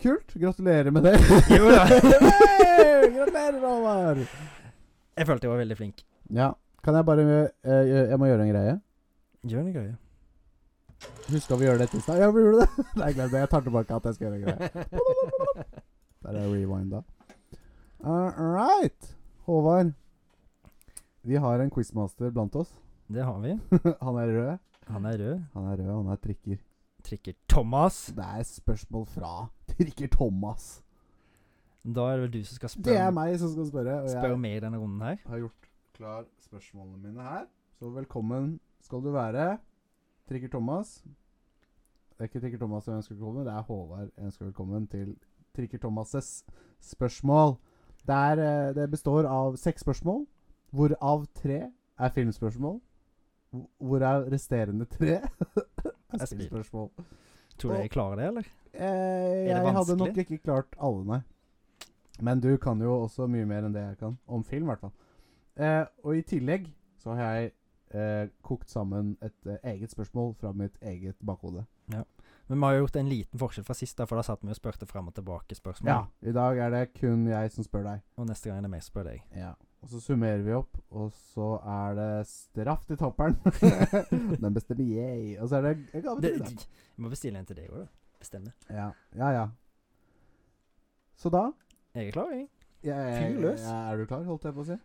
[SPEAKER 1] Kult. Gratulerer med det.
[SPEAKER 2] Jo da.
[SPEAKER 1] Hey, gratulerer, Håvard.
[SPEAKER 2] Jeg følte jeg var veldig flink.
[SPEAKER 1] Ja. Kan jeg bare eh, gjø- Jeg må gjøre en greie.
[SPEAKER 2] Gjør det gøye.
[SPEAKER 1] Huska vi gjøre det tirsdag? Ja, vi gjorde det. Nei, glem det. Jeg tar tilbake at jeg skal gjøre en greie. Der er rewind, da. All right. Håvard. Vi har en quizmaster blant oss.
[SPEAKER 2] Det har vi.
[SPEAKER 1] han er rød.
[SPEAKER 2] Han er rød.
[SPEAKER 1] Han er rød, og han er trikker.
[SPEAKER 2] Trikker Thomas.
[SPEAKER 1] Det er spørsmål fra trikker Thomas.
[SPEAKER 2] Da er det vel du som skal
[SPEAKER 1] Det er
[SPEAKER 2] spørre,
[SPEAKER 1] meg som skal spørre. Og
[SPEAKER 2] spørre
[SPEAKER 1] jeg
[SPEAKER 2] meg i denne runden her.
[SPEAKER 1] har gjort klar spørsmålene mine her. Så velkommen skal du være, Trikker Thomas. Det er ikke Trikker Thomas jeg ønsker velkommen, det er Håvard jeg ønsker velkommen til Trikker Thomas' spørsmål. Det, er, eh, det består av seks spørsmål, hvorav tre er filmspørsmål. hvor- Hvorav resterende tre er
[SPEAKER 2] Er spill.
[SPEAKER 1] spillspørsmål.
[SPEAKER 2] Tror du jeg klarer det, eller?
[SPEAKER 1] Eh,
[SPEAKER 2] Er det
[SPEAKER 1] jeg hadde
[SPEAKER 2] vanskelig?
[SPEAKER 1] nok ikke klart alle, nei. Men du kan jo også mye mer enn det jeg kan. Om film, i hvert fall. Eh, og i tillegg så har jeg eh, kokt sammen et eh, eget spørsmål fra mitt eget bakhode.
[SPEAKER 2] Men vi har jo gjort en liten forskjell fra sist, da, for da satt vi og spurte fram og tilbake spørsmål.
[SPEAKER 1] Ja. I dag er det kun jeg som spør deg.
[SPEAKER 2] Og neste gang er det meg som spør deg.
[SPEAKER 1] Ja. Og så summerer vi opp, og så er det straff til topperen. Den bestemmer jeg. Og så er det en gave
[SPEAKER 2] Det,
[SPEAKER 1] til deg.
[SPEAKER 2] vi må bestille en til deg òg, da. Bestemme.
[SPEAKER 1] Ja. ja, ja. Så da
[SPEAKER 2] Jeg er klar, jeg.
[SPEAKER 1] jeg, jeg,
[SPEAKER 2] Fyr løs.
[SPEAKER 1] Er du klar, holdt jeg på å si?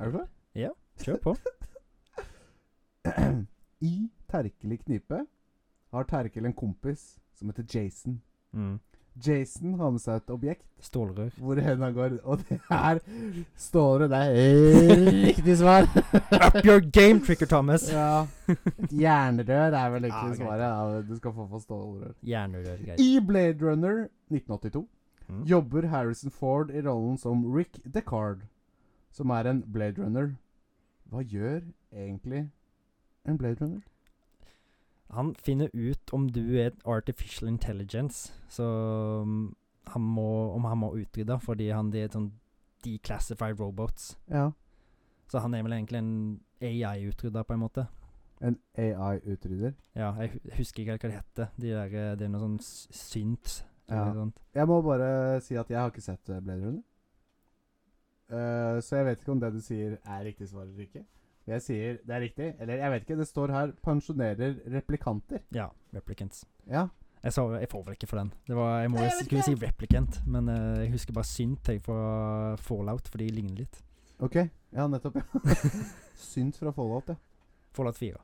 [SPEAKER 1] Er du klar?
[SPEAKER 2] Kjør på.
[SPEAKER 1] I Terkel i knipe har Terkel en kompis som heter Jason.
[SPEAKER 2] Mm.
[SPEAKER 1] Jason har med seg et objekt
[SPEAKER 2] Stålrør.
[SPEAKER 1] hvor henda går, og det er stålere. Det er riktig svar.
[SPEAKER 2] Up your game, Tricker Thomas!
[SPEAKER 1] Ja. Et jernrør er vel
[SPEAKER 2] Ja,
[SPEAKER 1] egentlig
[SPEAKER 2] greit.
[SPEAKER 1] svaret. Ja, du skal få få stålrør.
[SPEAKER 2] Jernrør, greit.
[SPEAKER 1] I Blade Runner 1982
[SPEAKER 2] Mm.
[SPEAKER 1] jobber Harrison Ford i rollen som Rick Descard, som er en Blade Runner. Hva gjør egentlig en Blade Runner?
[SPEAKER 2] Han finner ut om du er et artificial intelligence, så mm, han må, om han må utrydde, fordi han det er et sånn declassified robots.
[SPEAKER 1] Ja.
[SPEAKER 2] Så han er vel egentlig en AI-utrydder, på en måte.
[SPEAKER 1] En AI-utrydder.
[SPEAKER 2] Ja, jeg hu- husker ikke helt hva det heter. De der, eh, det er noe sånn s- synt.
[SPEAKER 1] Ja.
[SPEAKER 2] eller noe sånt.
[SPEAKER 1] Jeg må bare si at jeg har ikke sett eh, Blade Runner. Eh, så jeg vet ikke om det du sier er riktig svar eller ikke. Jeg sier det er riktig, eller jeg vet ikke. Det står her 'pensjonerer replikanter'.
[SPEAKER 2] ja replicants.
[SPEAKER 1] Ja.
[SPEAKER 2] Jeg, sa, jeg får vel ikke for den. Det var, jeg må
[SPEAKER 1] Nei, jeg
[SPEAKER 2] jo
[SPEAKER 1] vet
[SPEAKER 2] skulle si
[SPEAKER 1] ikke.
[SPEAKER 2] replicant, men eh, jeg husker bare synt jeg fra Fallout, for de ligner litt.
[SPEAKER 1] OK. Ja, nettopp. ja. Synt fra Fallout, ja.
[SPEAKER 2] Fallout 4.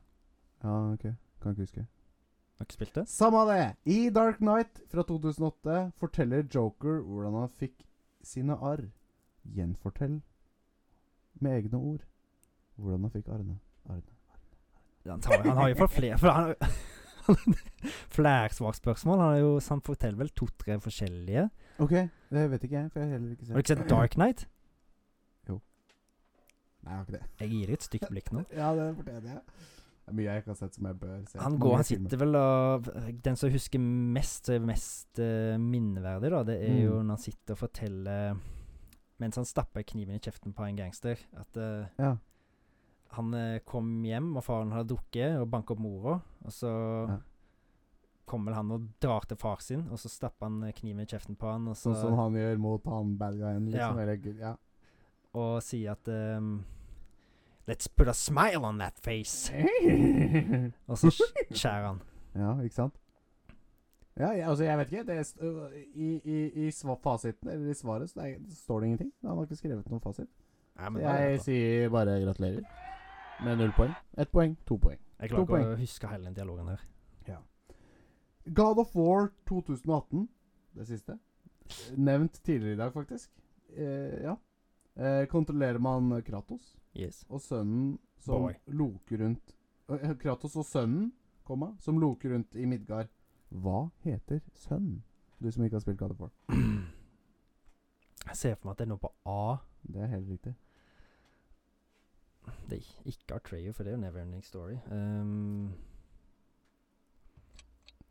[SPEAKER 1] Ja, OK. Kan ikke huske.
[SPEAKER 2] Har ikke spilt det?
[SPEAKER 1] Samme det! I Dark Knight fra 2008 forteller Joker hvordan han fikk sine arr. Gjenfortell med egne ord hvordan han fikk arrene. arrene.
[SPEAKER 2] Han, tar, han har jo fått flere for han, han, Flere svarspørsmål. Han, har jo, han forteller vel to-tre forskjellige.
[SPEAKER 1] OK, det vet ikke jeg, for jeg har heller ikke sett
[SPEAKER 2] Har du ikke sett Dark Knight?
[SPEAKER 1] Nei, jeg har ikke det.
[SPEAKER 2] Jeg gir deg et stygt blikk nå.
[SPEAKER 1] Ja, det fortjener jeg. Det er mye jeg ikke har sett som jeg bør se.
[SPEAKER 2] Han
[SPEAKER 1] Mange
[SPEAKER 2] går, han
[SPEAKER 1] filmer.
[SPEAKER 2] sitter vel og Den som husker mest, som er mest eh, minneverdig, da, det er jo
[SPEAKER 1] Mm.
[SPEAKER 2] når han sitter og forteller eh, Mens han stapper kniven i kjeften på en gangster, at eh,
[SPEAKER 1] Ja.
[SPEAKER 2] han eh, kom hjem, og faren hadde drukket og banka opp mora, og så
[SPEAKER 1] Ja.
[SPEAKER 2] kommer han og drar til far sin, og så stapper han eh, kniven i kjeften på han, og, så,
[SPEAKER 1] Sånn som han gjør mot han bad guyen, liksom.
[SPEAKER 2] Ja.
[SPEAKER 1] Eller, gu- ja.
[SPEAKER 2] og sier at ehm, Let's put a smile on that face! Og så sk- skjærer han.
[SPEAKER 1] ja, ikke sant? Ja, jeg, altså, jeg vet ikke. Det er, st- øh, I i, i sva- fasiten, eller i svaret, så det er, står det ingenting. Han har ikke skrevet noen fasit.
[SPEAKER 2] Ja, men det er
[SPEAKER 1] Jeg
[SPEAKER 2] greit, da.
[SPEAKER 1] sier bare gratulerer. Med null poeng. Ett poeng, to poeng.
[SPEAKER 2] jeg
[SPEAKER 1] to
[SPEAKER 2] klarer ikke å huske hele den dialogen her.
[SPEAKER 1] God of War 2018, det siste. Nevnt tidligere i dag, faktisk. Eh, ja. Eh, kontrollerer man Kratos
[SPEAKER 2] Yes.
[SPEAKER 1] og sønnen som
[SPEAKER 2] Boy.
[SPEAKER 1] loker rundt eh, Kratos og sønnen, komma, som loker rundt i Midgard. Hva heter sønnen? Du som ikke har spilt God of War.
[SPEAKER 2] Jeg ser for meg at det er noe på A.
[SPEAKER 1] Det er helt riktig.
[SPEAKER 2] Det er ik- ikke Artreo, for det er jo Neverending Story. Ehm,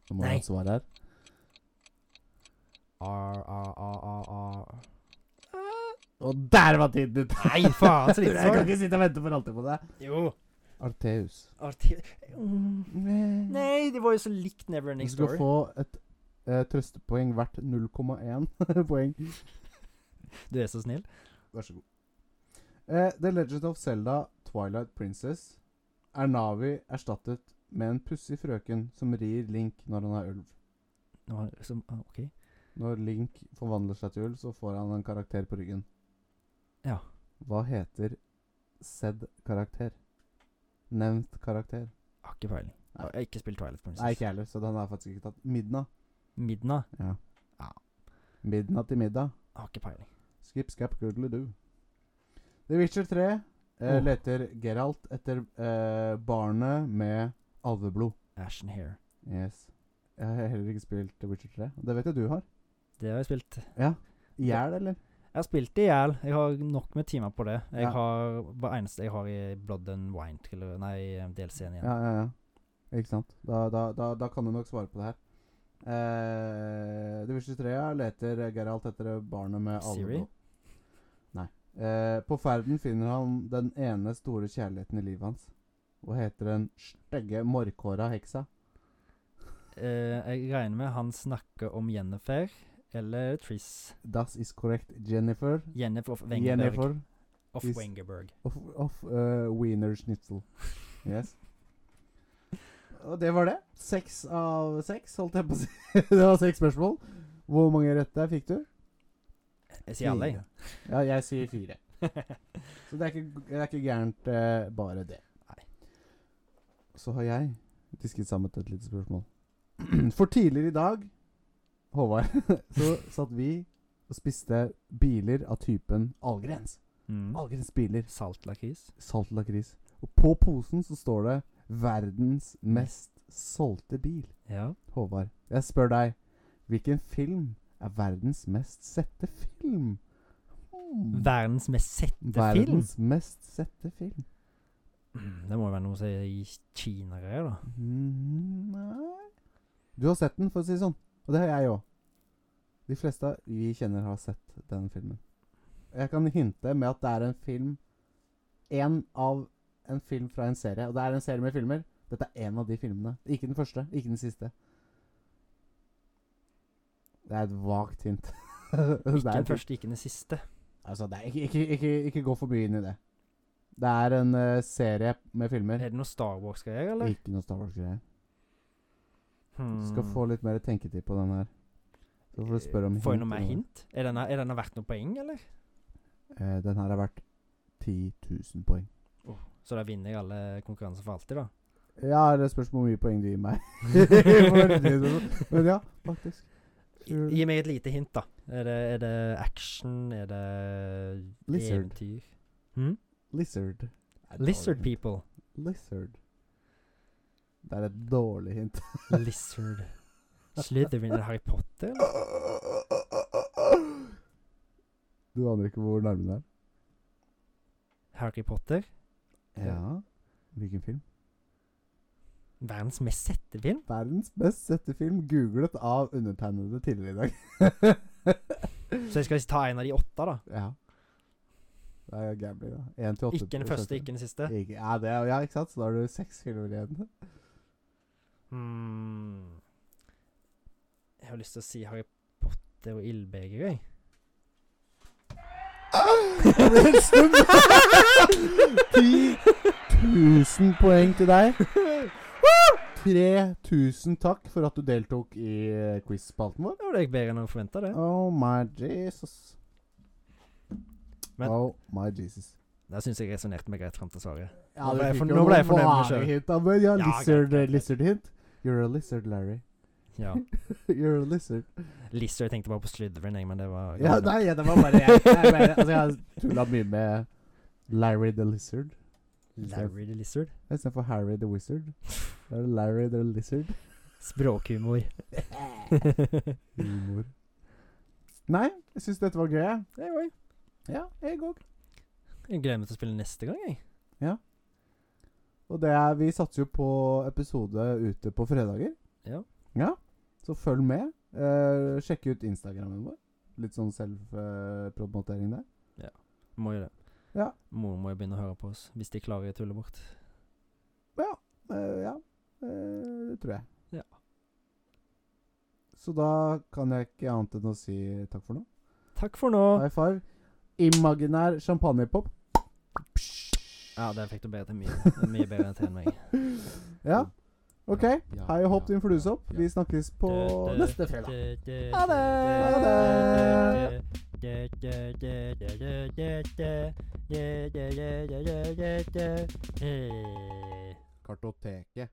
[SPEAKER 1] Så må
[SPEAKER 2] Nei.
[SPEAKER 1] jeg ha et svar her.
[SPEAKER 2] R, R, R, R, R.
[SPEAKER 1] Og der var tiden ute!
[SPEAKER 2] Nei, faen, så lite
[SPEAKER 1] Jeg kan
[SPEAKER 2] svar!
[SPEAKER 1] ikke sitte og vente for alltid på deg.
[SPEAKER 2] Jo.
[SPEAKER 1] Arteus.
[SPEAKER 2] Artreo mm. Nei, det var jo så likt
[SPEAKER 1] Du
[SPEAKER 2] Neverending
[SPEAKER 1] skal
[SPEAKER 2] Story.
[SPEAKER 1] få et eh, trøstepoeng hvert 0,1 poeng.
[SPEAKER 2] Du er så snill.
[SPEAKER 1] Vær så god. Eh, The Legend of Zelda Twilight Princess er Navi erstattet med en pussig frøken som rir Link når han er ulv.
[SPEAKER 2] Nå var det som, ah, OK.
[SPEAKER 1] Når Link forvandler seg til ulv, så får han en karakter på ryggen.
[SPEAKER 2] Ja.
[SPEAKER 1] Hva heter said karakter? Nevnt karakter.
[SPEAKER 2] Har ikke peiling.
[SPEAKER 1] Nei.
[SPEAKER 2] Jeg har ikke spilt Twilight Princess.
[SPEAKER 1] Nei, ikke jeg heller, så den er faktisk ikke tatt. Midna.
[SPEAKER 2] Midna.
[SPEAKER 1] Ja.
[SPEAKER 2] Ja.
[SPEAKER 1] Midna til middag.
[SPEAKER 2] Har ikke peiling.
[SPEAKER 1] Skip, skap, goodly-do. The Witcher 3 eh,
[SPEAKER 2] Åh.
[SPEAKER 1] leter Geralt etter eh, barnet med alveblod.
[SPEAKER 2] Ashen Hair.
[SPEAKER 1] Yes. Jeg har heller ikke spilt The Witcher 3. Det vet jeg du har.
[SPEAKER 2] Det har jeg spilt.
[SPEAKER 1] I hjel, eller?
[SPEAKER 2] Jeg har spilt det i hjel. Jeg har nok med timer på det. Jeg
[SPEAKER 1] Ja.
[SPEAKER 2] har Hva eneste jeg har i Blood and Wine Thriller Nei, eh, DLC-en igjen.
[SPEAKER 1] Ja, ja, ja. Ikke sant? Da, da, da, da kan du nok svare på det her. Eh, The Witcher 3 ja, leter Geralt etter barnet med
[SPEAKER 2] Siri?
[SPEAKER 1] alveblod. Nei. Eh, på ferden finner han den ene store kjærligheten i livet hans. Hva heter den stygge, morkhåra heksa?
[SPEAKER 2] Eh, jeg regner med han snakker om Jennifer eller Triss.
[SPEAKER 1] Das is correct, Jennifer.
[SPEAKER 2] Jennifer of Wengerberg.
[SPEAKER 1] Jennifer
[SPEAKER 2] Of
[SPEAKER 1] is-
[SPEAKER 2] Wengerberg.
[SPEAKER 1] of, of uh, Wiener Schnitzel. Yes. Og det var det. Seks av seks, holdt jeg på å si. det var seks spørsmål. Hvor mange rette fikk du?
[SPEAKER 2] Jeg sier alle, jeg.
[SPEAKER 1] Fire. Ja, jeg sier fire. Så det er ikke, det er ikke gærent, eh, bare det.
[SPEAKER 2] Nei.
[SPEAKER 1] Så har jeg disket sammen et lite spørsmål. For tidligere i dag, Håvard, så satt vi og spiste biler av typen Algrens.
[SPEAKER 2] Mm.
[SPEAKER 1] Algrens biler.
[SPEAKER 2] Saltlakris.
[SPEAKER 1] Salt lakris. Og på posen så står det 'Verdens mest solgte bil'.
[SPEAKER 2] Ja.
[SPEAKER 1] Håvard, jeg spør deg, hvilken film er verdens mest sette film? Hmm.
[SPEAKER 2] Verdens mest sette film.
[SPEAKER 1] Verdens mest sette film.
[SPEAKER 2] Mm, Det må jo være noe som er i Kina-greier, da.
[SPEAKER 1] Mm, Nei Du har sett den, for å si det sånn. Og det har jeg òg. De fleste vi kjenner, har sett den filmen. Jeg kan hinte med at det er en film En av en film fra en serie. Og det er en serie med filmer. Dette er en av de filmene. Ikke den første, ikke den siste. Det er et vagt hint.
[SPEAKER 2] Ikke den første, ikke den siste.
[SPEAKER 1] Altså, det er ikke, ikke, ikke, ikke gå for mye inn i det. Det er en eh, serie med filmer.
[SPEAKER 2] Er det noe Star Wars-greier, eller?
[SPEAKER 1] Ikke noe Star Wars-greier.
[SPEAKER 2] Hmm.
[SPEAKER 1] Du skal få litt mer tenketid på den her. Så får du spørre om
[SPEAKER 2] Eh, Får jeg noe
[SPEAKER 1] og
[SPEAKER 2] mer hint? Er denne, er denne verdt noe poeng, eller?
[SPEAKER 1] Eh, den her har vært 10 000 poeng.
[SPEAKER 2] Så da vinner jeg alle konkurranser for alltid, da.
[SPEAKER 1] Ja, det spørs hvor mye poeng du gir meg. For det som- Men ja, faktisk. Sure.
[SPEAKER 2] Gi meg et lite hint, da. Er det, er det action? Er det
[SPEAKER 1] Lizard.
[SPEAKER 2] eventyr? Hmm?
[SPEAKER 1] Lizard. Er dårlig.
[SPEAKER 2] Lizard people.
[SPEAKER 1] Lizard. Det er et dårlig hint.
[SPEAKER 2] Lizard. Slytherin eller Harry Potter? eller?
[SPEAKER 1] Du aner ikke hvor nærme det er?
[SPEAKER 2] Harry Potter?
[SPEAKER 1] Ja. Hvilken film?
[SPEAKER 2] Verdens mest sette film?
[SPEAKER 1] Verdens best sette film googlet av undertegnede tidligere i dag.
[SPEAKER 2] Så jeg skal ta en av de åtte, da.
[SPEAKER 1] Ja. Det er gambling, da. En til åtte
[SPEAKER 2] Ikke den første, ikke den siste.
[SPEAKER 1] ikke ja, det er, ja, ikke sant? Så da har du seks filmer igjen.
[SPEAKER 2] Hmm. Jeg har lyst til å si Harry Potter og ildbeger, jeg.
[SPEAKER 1] Jeg ble helt stum. 1000 poeng til deg. 3000 takk for at du deltok i eh, quiz-spalten vår.
[SPEAKER 2] Det var det jeg bedre enn jeg forventa, det.
[SPEAKER 1] Oh my Jesus.
[SPEAKER 2] Men-
[SPEAKER 1] oh my Jesus.
[SPEAKER 2] Der syns jeg resonnerte meg greit fram til svaret.
[SPEAKER 1] Ja,
[SPEAKER 2] Nå ble
[SPEAKER 1] du
[SPEAKER 2] jeg
[SPEAKER 1] fikk
[SPEAKER 2] for-
[SPEAKER 1] jo
[SPEAKER 2] nå ble jeg
[SPEAKER 1] noen
[SPEAKER 2] fornøyd med meg
[SPEAKER 1] vanlige
[SPEAKER 2] selv.
[SPEAKER 1] hint, da, men ja,
[SPEAKER 2] Ja,
[SPEAKER 1] lizard,
[SPEAKER 2] greit, greit, greit.
[SPEAKER 1] lizard hint. You're a lizard, Larry.
[SPEAKER 2] Ja.
[SPEAKER 1] You're a lizard.
[SPEAKER 2] Lizzo, jeg tenkte bare på Slytherin, jeg, men det var
[SPEAKER 1] Ja, nei, ja, det var bare jeg. jeg bare, altså, jeg har tulla mye med Larry the Lizard
[SPEAKER 2] Larry the Lizard.
[SPEAKER 1] istedenfor Harry the Wizard. Da er det Larry the Lizard.
[SPEAKER 2] Språkhumor.
[SPEAKER 1] Humor. Nei, jeg syns dette var gøy. jeg.
[SPEAKER 2] det var jo
[SPEAKER 1] Ja, jeg òg.
[SPEAKER 2] Jeg gleder meg til å spille neste gang, jeg.
[SPEAKER 1] Og det er, vi satser jo på episode ute på fredager.
[SPEAKER 2] Ja.
[SPEAKER 1] Ja, Så følg med. Eh, sjekk ut Instagrammen vår. Litt sånn selvpromotering der.
[SPEAKER 2] Må jo det.
[SPEAKER 1] Ja.
[SPEAKER 2] Mor må jo begynne å høre på oss, hvis de klarer å tulle bort.
[SPEAKER 1] Ja. eh, ja. eh, det tror jeg.
[SPEAKER 2] Ja.
[SPEAKER 1] Så da kan jeg ikke annet enn å si takk for nå.
[SPEAKER 2] Takk for nå.
[SPEAKER 1] High five. Imaginær champagnepop.
[SPEAKER 2] Ja, der fikk du bedre til mye. Mye bedre til enn meg.
[SPEAKER 1] Ja. OK. Hei og hopp din fluesopp. Vi snakkes på neste fredag.
[SPEAKER 2] Ha det!
[SPEAKER 1] Ha det!
[SPEAKER 2] det!
[SPEAKER 1] Kartoteket.